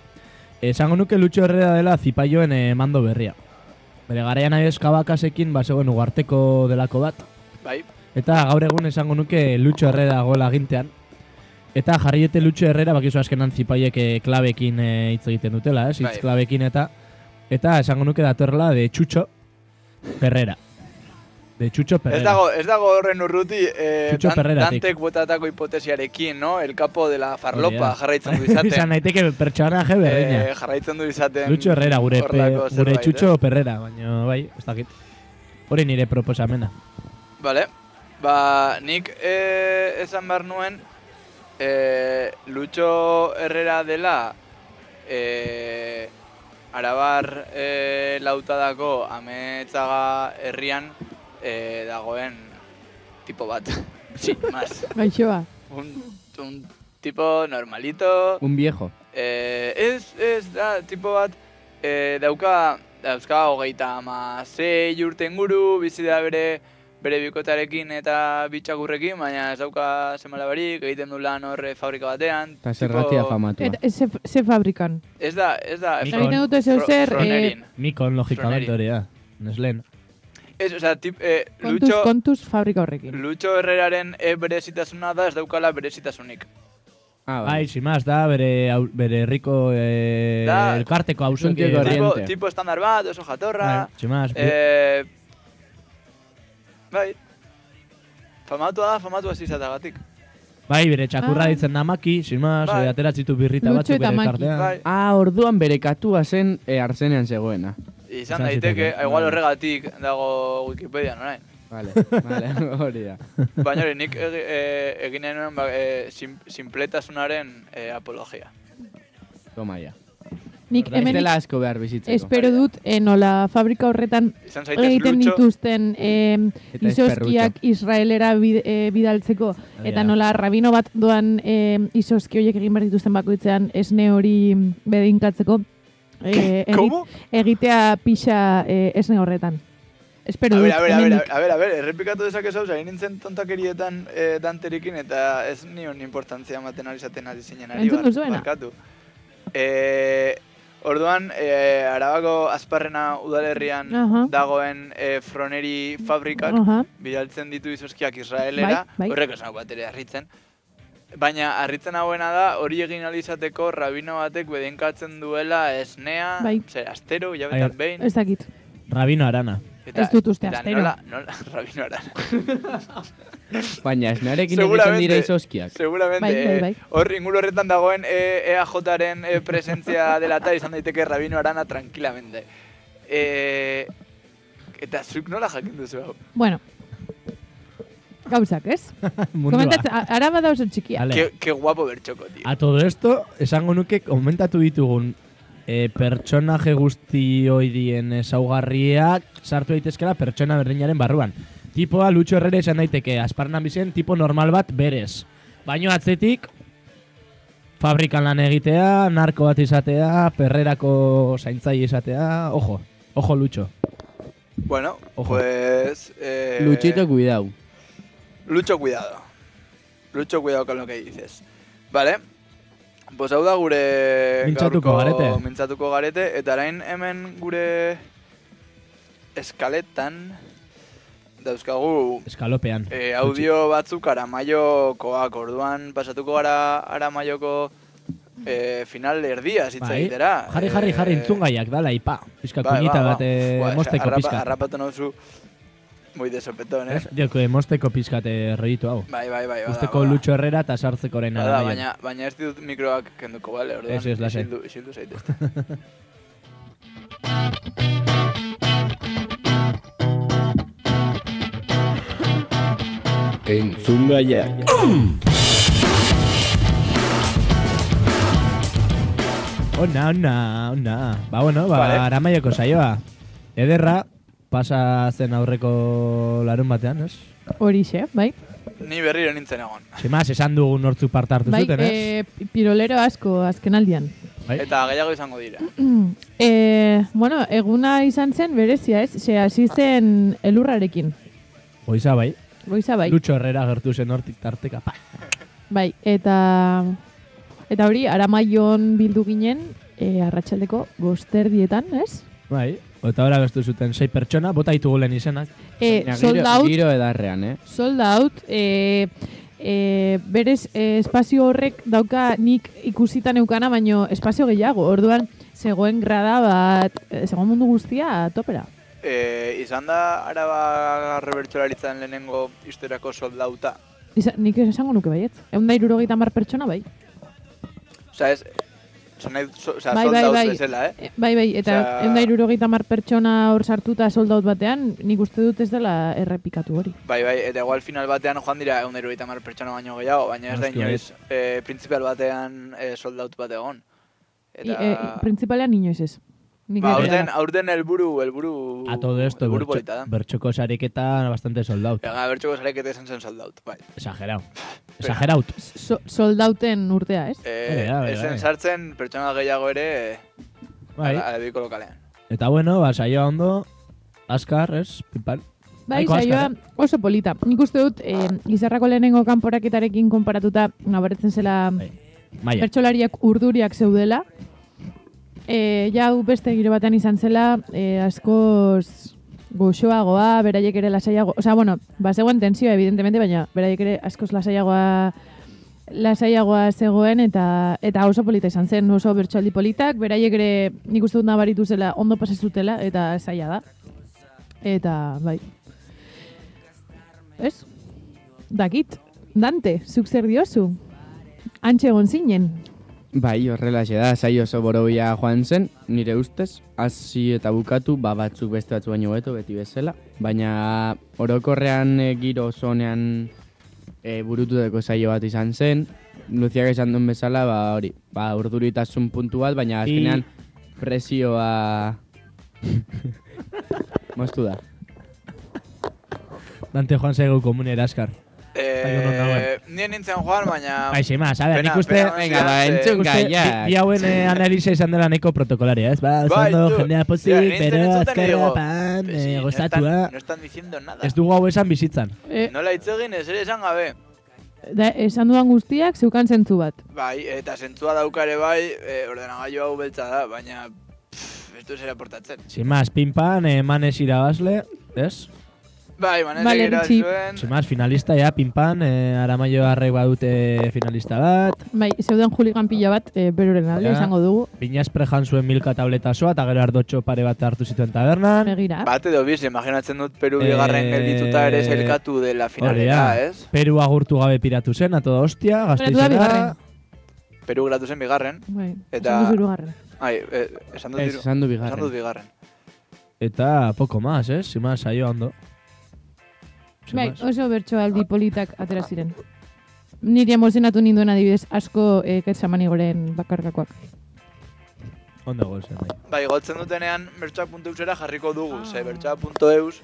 Esango nuke lutxo herrera dela zipaioen eh, mando berria. Bere garaian aieskabakasekin bazegoen ba, ugarteko delako bat.
Bai,
Eta gaur egun esango nuke lutxo herrera gola agintean. Eta jarriete lutxo herrera bakizu azkenan zipaiek eh, klabekin eh, hitz egiten dutela, ez? Hitz
Bai.
klabekin eta... Eta esango nuke datorrela de txutxo perrera. De txutxo perrera.
Ez dago, ez dago horren urruti eh,
Txutxo Perreratik.
Dantek botatako hipotesiarekin, no? El capo de la
Hori
farlopa
da.
jarraitzen du
Izan
izaten.
naiteke pertsonaje berdina.
eh, jarraitzen du izaten.
Lutxo Herrera gure, pe,
horrelako
gure
zerbait, eh.
Txutxo Perrera, baina bai, ez dakit. Hori nire proposamena.
eh? Vale. Ba, nik eh, esan behar nuen eh, Lutxo Herrera dela eh, Arabar eh, lautadako ametzaga herrian eh, dagoen tipo bat. Sin más.
Gaixoa.
un, un tipo normalito.
Un viejo.
Eh, ez, ez, da, tipo bat, eh, dauka, dauzka hogeita ama zei urte inguru, bizi da bere, bere bikotarekin eta bitxakurrekin, baina ez dauka zemalabarik, egiten du lan horre fabrika batean.
Eta
tipo-
zergatia famatua.
Eta ze, ze fabrikan.
Ez da, ez da,
Mikon.
Fro-
Egiten dute zeu
Fro-
zer, eh,
Fronerin.
Mikon, logikamente,
Froneri.
hori da. Neslen.
Ez, osea, tip, eh,
kontuz,
Lutxo,
kontuz fabrika horrekin.
Lutxo Herreraren eh, berezitasuna da, ez daukala berezitasunik.
Ah,
Bai, simaz, da bere, au- bere herriko eh,
Da,
elkarteko hausunki
Tipo-
Tipo,
Korriente.
tipo estandar bat, oso jatorra,
Bai, simaz, eh,
Eh, bai. Famatua da, famatua zizatagatik.
bai, bere txakurra
Ah.
ditzen namaki, simaz,
Bai.
bai. ateratzitu birrita
Lutxo
batzuk
eta
bere
Maki.
elkartean.
Bai,
Ah, orduan bere katua zen e, arzenean zegoena.
izan
Izan
daiteke,
zitekeen.
igual horregatik dago Wikipedia, orain.
bai. Vale, vale, hori da.
Baina hori, nik egi- eh, egin nahi nuen ba, eh, sim- sinpletasunaren eh, apologia.
Toma ya.
Nik
Ez
hemen
dela asko behar bizitzeko.
espero dut, eh, nola fabrika horretan
Izan zaitez
egiten
lutxo,
dituzten eh,
Eta
izoskiak Israelera bid, eh, bidaltzeko. Eta nola rabino bat doan eh, izoski horiek egin behar dituzten bakoitzean esne hori bedinkatzeko. Eh, egi-
Como?
Egitea pixa eh, esne horretan. Espero
A
dut,
ber, a ber, a ber,
hemendik.
a ber, a ber, errepikatu dezakezu, zain nintzen tontakerietan eh, danterikin, eta ez nion importantzia ematen ari zaten ari zinen ari
Entzun
bar-
duzuena?
barkatu. Eh, orduan, eh, arabako azparrena udalerrian
Aha.
dagoen eh, froneri fabrikak
Aha.
bidaltzen ditu izozkiak Israelera,
Bai, bai.
horrek ez nau bat ere harritzen. Baina harritzen hauena da hori egin ahal izateko rabino batek bedinkatzen duela esnea,
Bai.
zer, astero,
Ai,
hilabetan behin.
Ez dakit.
Bai, Rabino Arana.
Eta,
Ez dut uste
eta
astero.
Nola, nola, rabino aran.
Baina esnarekin egiten
Seguramente.
dira izoskiak.
Seguramente,
Bai, bai,
eh,
bai.
hor inguru horretan dagoen eh, EAJaren eh, presentzia dela eta izan daiteke rabino arana tranquilamente. Eh, eta zuk nola jakin duzu hau?
Bueno. Gauzak, ez? Komentatzen,
Mundua.
a- araba da oso txikia.
Ale.
Ke, ke guapo bertxoko, tío.
A todo esto, esango nuke komentatu ditugun e, pertsonaje guzti horien ezaugarriak sartu daitezkela pertsona berdinaren barruan. Tipoa Lutxo Herrera izan daiteke, asparnan bizen tipo normal bat berez. Baino atzetik, fabrikan lan egitea, narko bat izatea, perrerako zaintzaile izatea, ojo, ojo Lutxo.
Bueno,
Ojo.
pues... Eh,
Luchito, cuidau.
Lucho cuidado. Lucho cuidado con lo que dices. Vale. Pues hau da gure
Mintzatuko garete.
mintzatuko garete. Eta orain hemen gure eskaletan dauzkagu
Eskalopean.
eh, audio batzuk aramaiokoak. Orduan pasatuko gara aramaioko eh, final erdia, hitz
Bai.
egitera.
Jarri, jarri, jarri,
Eh,
entzungaiak, dala, ipa. Pizka
bai,
kuñita
ba, ba.
bat, eh,
Buah,
mozteko
arrapa-
pizka.
Arrapatu nauzu muy de sopetón, eh?
Ez, Dioko, eh, mozteko pizka te roitu hau.
Bai, bai, bai. bada,
Usteko
bada.
Lutxo Herrera eta sartzeko orain
Bada,
Aramaio.
baina, baina ez ditut mikroak kenduko, bale, orduan.
Ez, ez, lasai.
Isildu, isildu zaitezte.
Entzun gaiak.
Ona, ona, ona. Ba, bueno, ba,
Vale.
aramaioko saioa. Ederra, pasa zen aurreko larun batean, ez?
Horixe, bai.
Ni berriro nintzen egon.
Simaz, esan dugu nortzu parte hartu
Bai,
zuten, ez?
eh, pi- pirolero asko azkenaldian.
Bai.
Eta gehiago izango dira.
Eh, bueno, eguna izan zen berezia, ez? Ze hasi zen elurrarekin.
Goiza, bai.
Goiza bai.
Lutxo Herrera gertu zen hortik tarteka. Pa.
Bai, eta eta hori Aramaion bildu ginen e, arratsaldeko bosterdietan, ez?
Bai, eta ora bestu zuten sei pertsona, bota ditugu lehen izenak.
E,
Baina
sold
giro-
out,
Giro edarrean, eh?
sold out, e, e, berez e, espazio horrek dauka nik ikusita neukana, baino espazio gehiago, orduan zegoen grada bat, e, zegoen mundu guztia topera.
Eh, izan da araba rebertsolaritzan lehenengo historiako soldauta.
Iza, nik esango nuke baiet. Egun da irurogeita mar pertsona, bai.
Osa, ez... Zan nahi, so, osa,
Bai, bai,
soldaut
bai.
bezala, eh?
E, bai, bai, eta
Osea-
egun da irurogeita mar pertsona hor sartuta sold out batean, nik uste dut ez dela errepikatu hori.
Bai, bai, eta igual final batean joan dira egun erugaita mar pertsona baino gehiago, baina ez da
Noski
inoiz eh, printzipal batean eh, soldaut bat egon.
Eta...
Eta...
E, printzipalean inoiz ez. Nik
ba,
ere
aurten,
dela.
aurten helburu, helburu...
A todo esto,
helburu
bertso,
polita da.
bertxoko sariketa bastante soldau.
Ega, bertxoko zarekete esan zen soldaut, bai.
Exagerau. Exageraut.
So, sold outen urtea, ez?
Eh,
Bai, bai,
ez zen
bai.
sartzen pertsona gehiago ere
Bai.
eh, adebiko lokalean.
Eta bueno, ba, saioa ondo, askar, ez, pipan.
Bai,
Nahiko azkar,
saioa oso polita. Nik uste dut, eh, Lizarrako lehenengo kanporaketarekin konparatuta, nabaretzen zela
Bai. Maia.
bertsolariak urduriak zeudela. E, jau beste giro batean izan zela, e, askoz goxoagoa, beraiek ere lasaiago, osea, bueno, bazegoen tensioa, evidentemente, baina beraiek ere askoz lasaiagoa lasaiagoa zegoen eta eta oso polita izan zen, oso bertsoldi politak, beraiek ere nik uste dut nabaritu zela ondo pasa zutela eta zaila da. Eta, bai. Ez? Dakit, Dante, zuk zer diozu? Antxe egon zinen,
Bai, horrela da, saio oso borobila joan zen, nire ustez, hasi eta bukatu, ba batzuk beste batzu baino beto, beti bezala, baina orokorrean e, giro oso onean e, burututako saio bat izan zen, Luziak esan duen bezala, ba hori, ba urduritasun puntu bat, baina
I-
azkenean presioa... Moztu da.
eh? Dante joan zaigu komunera, askar. Baina non
Eh,
dagoen.
nien nintzen joan, baina...
Bai, sin más, a ver,
Pena,
nik uste...
pena,
Venga, ba,
ze-
entzun
Uste, bi-
gaiak.
Bi hauen eh, analisa izan dela neko protokolaria, ez? Ba,
Bai,
ondo,
tú.
jendea pozik,
Ja, ni
pero
entzuten
azkarra
digo,
pan,
"Pues sí,
eh,
no
gozatua.
están- No están diciendo nada.
Ez dugu hau esan bizitzan.
E,
Nola hitz egin ez ere esan gabe.
da, esan duan guztiak zeukan zentzu bat.
Bai, eta zentzua daukare bai, e, ordenagailu hau beltza da, baina pff, ez du zera portatzen.
Sin más, pinpan, eh, manez irabazle, ez?
Bai, manez
Ba,
Vale,
egira
Richie.
zuen,
Sin más, finalista, ja, pinpan, eh, aramaio arrek badute finalista bat.
Bai, zeuden juligan pila bat, e, beroren alde
Ja.
izango dugu.
Piñaspre jan zuen milka tabletasoa, eta gero ardotxo pare bat hartu zituen tabernan.
Begira,
bat edo biz, imaginatzen dut Peru
Eh,
bigarren geldituta ere zailkatu dela finalera,
Hori da.
ez?
Peru agurtu gabe piratu zen, ato da hostia,
Piratu da
gazteizera.
bigarren.
Peru gratu zen bigarren.
bai,
eta-
esan duzu hirugarren.
Ai, eh, esan dut
Ez,
diru.
esan du
Esan dut
bigarren.
bigarren.
Eta poco más, eh? Sin más, saio ondo. Sin
Bai,
más.
oso bertsoaldi politak atera ziren. Niri emozionatu ninduen adibidez asko e, ketsamanigoren bakarkakoak.
Ondo gol zen, bai.
Bai, gotzen dutenean bertsoak.eusera jarriko
Ah.
dugu, ze bertsoak.eus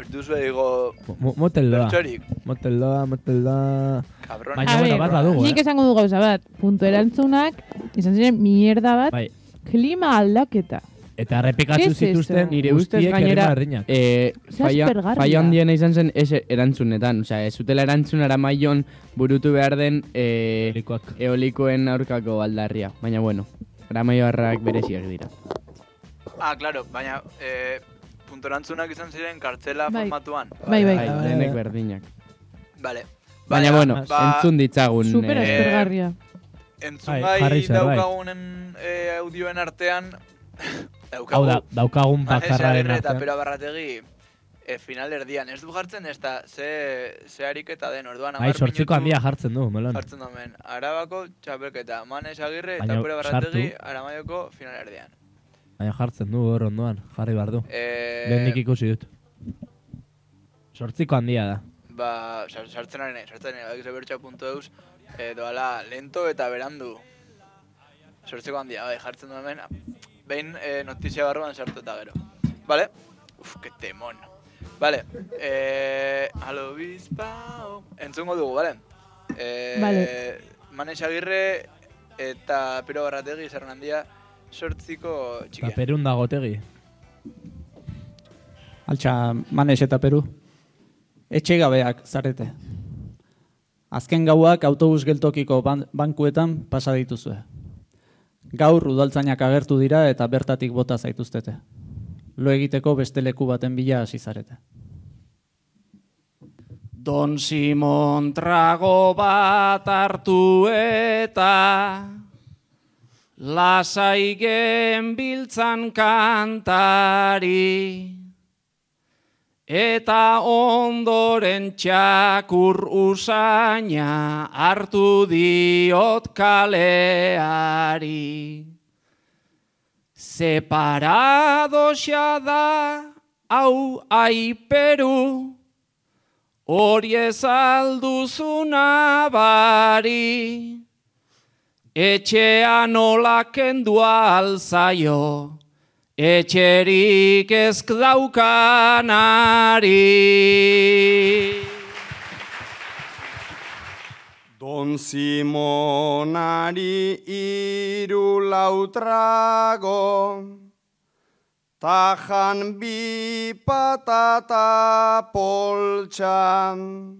ez duzu ego
Mo- Motel doa,
bertsorik.
motel doa, motel doa.
Kabron.
Baina, bueno, bat badugu,
nik
eh?
esango du gauza bat, puntu erantzunak, izan ziren mierda bat,
Bai,
klima aldaketa.
eta
¿Qué
repikatu
es
zituzten
eso?
Nire ustez
guztiek
gainera,
herrima herrinak.
eh,
Ze
faia,
aspergarria.
faia handiena izan zen ez erantzunetan. Osea, ez zutela erantzun aramaion burutu behar den eh,
Herrikoak.
eolikoen aurkako aldarria. Baina bueno, aramaioarrak bereziak dira.
Ah, claro, baina eh, puntorantzunak izan ziren kartzela
Bai.
formatuan.
Bai, bai.
Bai, lehenek berdinak.
Vale.
Baina bueno,
ba-
entzun ditzagun.
Super
eh,
aspergarria.
Entzun
Bai,
gai
jarri zerbait.
daukagunen eh, audioen artean
Hau
daukagu Ah,
da, daukagun
Vanessa
bakarraren
Aguirre eta
artean.
Pera Barrategi eh, final erdian. Ez du jartzen ez da, ze, ze ariketa den orduan.
Bai,
hamar
sortziko
minutu
handia jartzen du, melon.
Jartzen domen, Arabako txapelketa, Manes Agirre eta
Baina
Pera Barrategi Aramaioko final erdian.
Baina jartzen du hor ondoan, jarri behar du.
Eh,
Lehendik ikusi dut. Sortziko handia da.
ba, sar- sartzen ari nahi, sartzen ari nahi, bertxa.eus, eh, doala lento eta berandu. Sortzeko handia, bai, jartzen duen hemen, behin eh, notizia barruan sartu eta gero. Vale? Uf, que temon. Vale, eh, alo bizpao, entzungo dugu, vale? Eh,
Vale.
Manes Agirre eta Piro Barrategi, Zernandia, sortziko
Eta
txikia.
perun dagotegi.
Altxa, Manes eta Peru. Etxe gabeak zarete. Azken gauak autobus geltokiko ban bankuetan pasa dituzue. Gaur udaltzainak agertu dira eta bertatik bota zaituztete. Lo egiteko beste leku baten bila hasi zarete.
Don Simon trago bat hartu eta Lasai genbiltzan kantari Eta ondoren txakur usaina hartu diot kaleari Separadoxa da hau aiperu Hori ez alduzuna bari, etxea nola kendua alzaio, etxerik ez daukanari.
Don Simonari iru lautrago, Tajan bi patata poltsan,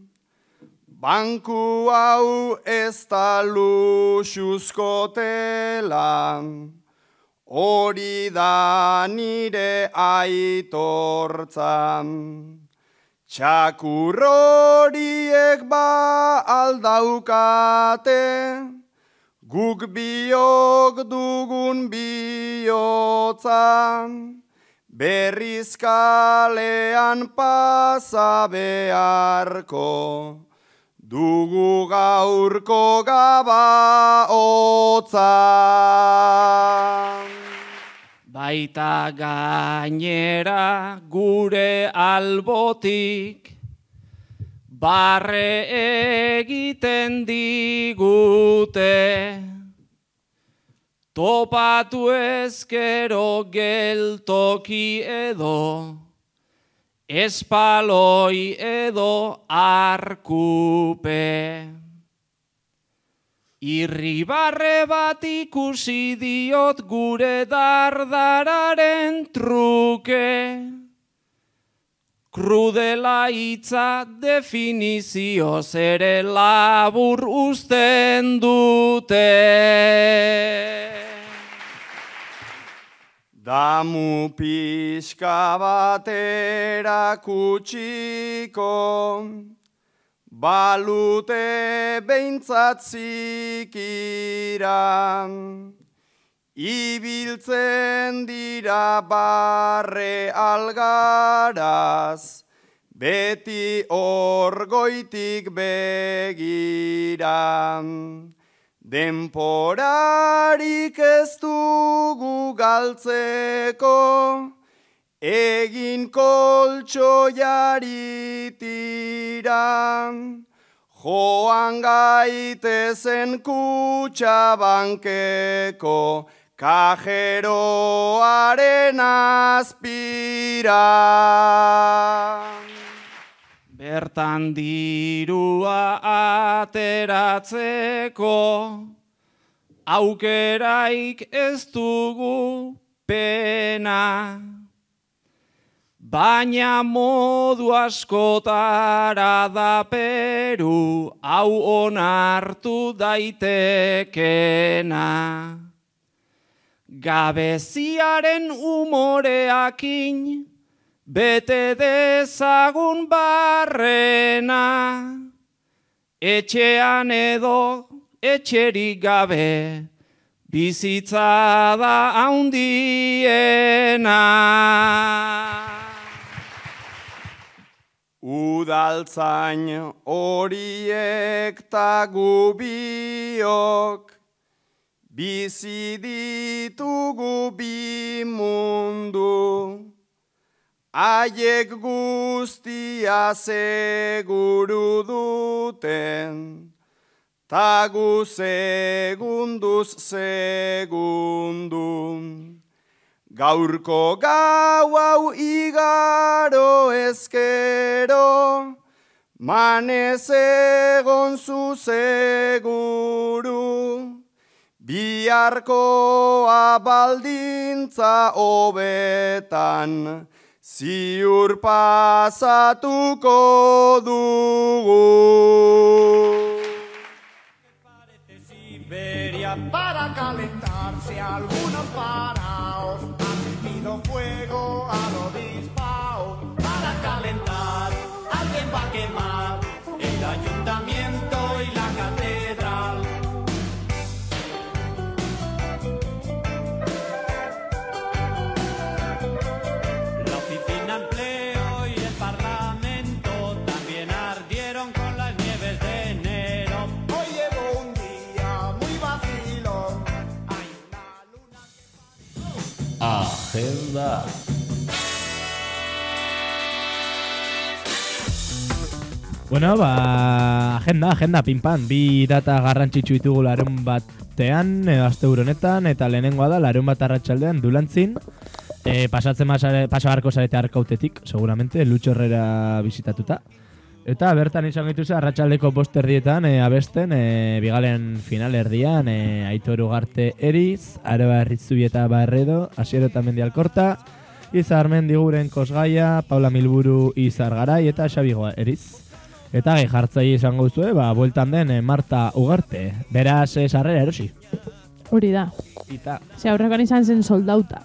Banku hau ez da luxuzko tela, Hori da nire aitortzan. Txakurroriek ba aldaukate, Guk biok dugun bihotza, berriz kalean pasa beharko, dugu gaurko gaba hotza.
Baita gainera gure albotik, barre egiten digute. Topatu ezkero geltoki edo, espaloi edo arkupe. Irribarre bat ikusi diot gure dardararen truke. Krudela hitza definizioz ere labur uzten dute.
Damu pixka batera kutsiko, balute behintzat zikiran. Ibiltzen dira barre algaraz, beti orgoitik begiran. Denporarik ez dugu galtzeko, egin koltsoiari tiran. Joan gaitezen kutsabankeko kajeroaren azpira.
Bertan dirua ateratzeko aukeraik ez dugu pena. Baina modu askotara da peru, hau onartu daitekena. Gabeziaren umoreakin, bete dezagun barrena. Etxean edo etxerik gabe, bizitza da haundiena.
Udaltzain horiek tagu biok, bizi ditugu bi mundu, haiek guztia seguru duten, tagu segunduz segundu. Gaurko gau hau igaro ezkero, manez egon zu seguru. Biharkoa baldintza hobetan, ziur pasatuko dugu.
Siberia historia para calentarse algunos paraos han metido fuego a lo dispao para calentar alguien va a quemar el ayuntamiento y la catedral La oficina empleo y el parlamento también ardieron con las nieves de enero. Hoy llevo un día muy vacilo.
Agenda.
Bueno, ba, agenda, agenda, pinpan. Bi data garrantzitsu ditugu larun batean, edo aste honetan, eta lehenengoa da, larun bat arratsaldean dulantzin. E, pasatzen masare, paso harko zarete arkautetik, seguramente, Lutxo Herrera bisitatuta. Eta bertan izan gaituzu arratsaldeko bosterdietan e, abesten, e, bigalen final erdian, e, Aitor Ugarte Eriz, Aroa Herrizubi eta Barredo, Asiero eta Mendialkorta, Izar Mendiguren Kosgaia, Paula Milburu Izar Garai eta Xabigoa Eriz. Eta gai jartzaile izango duzue, ba, bueltan den e, Marta Ugarte. Beraz, e, sarrera erosi.
Hori da.
Eta.
Ze aurrekan izan zen soldauta.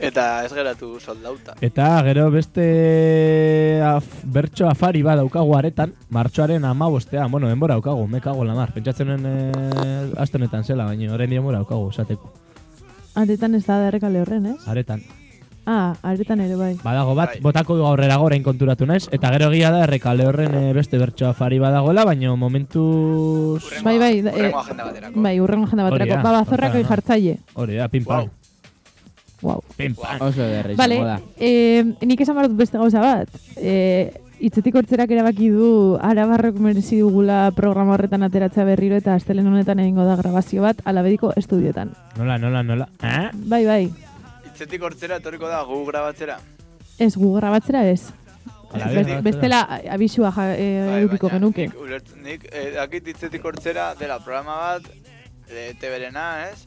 Eta ez geratu soldauta.
Eta gero beste af, bertso afari bat daukagu aretan, martxoaren amabostean, bueno, denbora daukagu, me kago en la mar. Pentsatzen nuen e, aste honetan zela, baina orain denbora daukagu, esateko.
Aretan ez da derrekale horren, ez?
Aretan.
Ah, aretan ere bai.
Badago bat, botako du aurrera orain konturatu naiz, eta gero egia da errekale horren e, beste bertso afari badagoela, baina momentuz...
Bai, bai. da-
hurrengo
eh,
agenda baterako.
Bai, urrengo agenda
Hori
baterako.
da,
Ba, bazorrako
hortara, no?
jartzaile.
Hori da, pinpan.
Wow.
Pinpan.
Oso derri
Bale,
da.
eh, nik esan behar dut beste gauza bat. Eh, itzetik hortzerak erabaki du arabarrok merezi dugula programa horretan ateratzea berriro eta astelen honetan egingo da grabazio bat alabediko estudiotan.
Nola, nola, nola. Eh?
Bai, bai,
Itzetik hortzera etorriko da gu grabatzera.
ez gu grabatzera ez.
Ala,
Best-
grabatzera.
bestela a- abisua ja, e, edukiko genuke.
Ulertzen nik, eh, dakit itzetik hortzera dela programa bat, e, teberena, ez?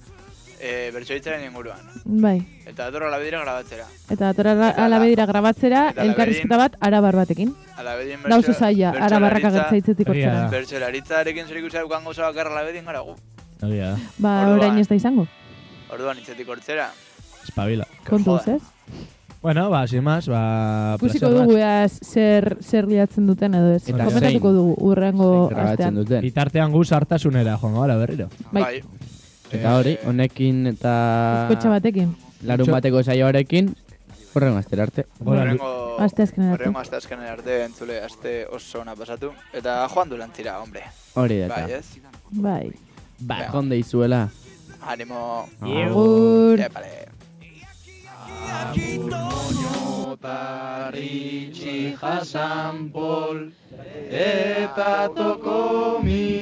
E, Bertsoitzaren inguruan.
Bai.
Eta datorra labedira grabatzera.
Eta datora ala- alabedira grabatzera
eta
elkarrizketa bat arabar batekin.
Alabedin
Da oso zaila, arabarrak agertza itzetik hortzera.
Bertxolaritzarekin zer ikusi dukan gauza bakarra labedin gara gu.
Egia da.
Ba, orain ez da izango.
Orduan itzetik hortzera.
Espabila.
Kontuz, ez?
Bueno, ba, sin más, ba...
Ikusiko
placer bat.
dugu ea zer, zer liatzen duten edo ez.
Eta
Komentatuko
zein.
dugu urrengo astean.
duten. Bitartean gu sartasunera, joango gara berriro.
Bai.
Eta hori, honekin eta...
Bizkotxa batekin.
Larun bateko saioarekin, horrengo astera arte.
Horrengo...
Aste azkenera arte.
Horrengo aste azkenera arte entzule aste oso ona pasatu. Eta joan du lantzira, hombre.
Hori da eta.
Bai, ez?
Bai.
Bai. Jonde izuela.
Animo.
Agur.
Epale.
Paritxi jasan pol, eta tokomi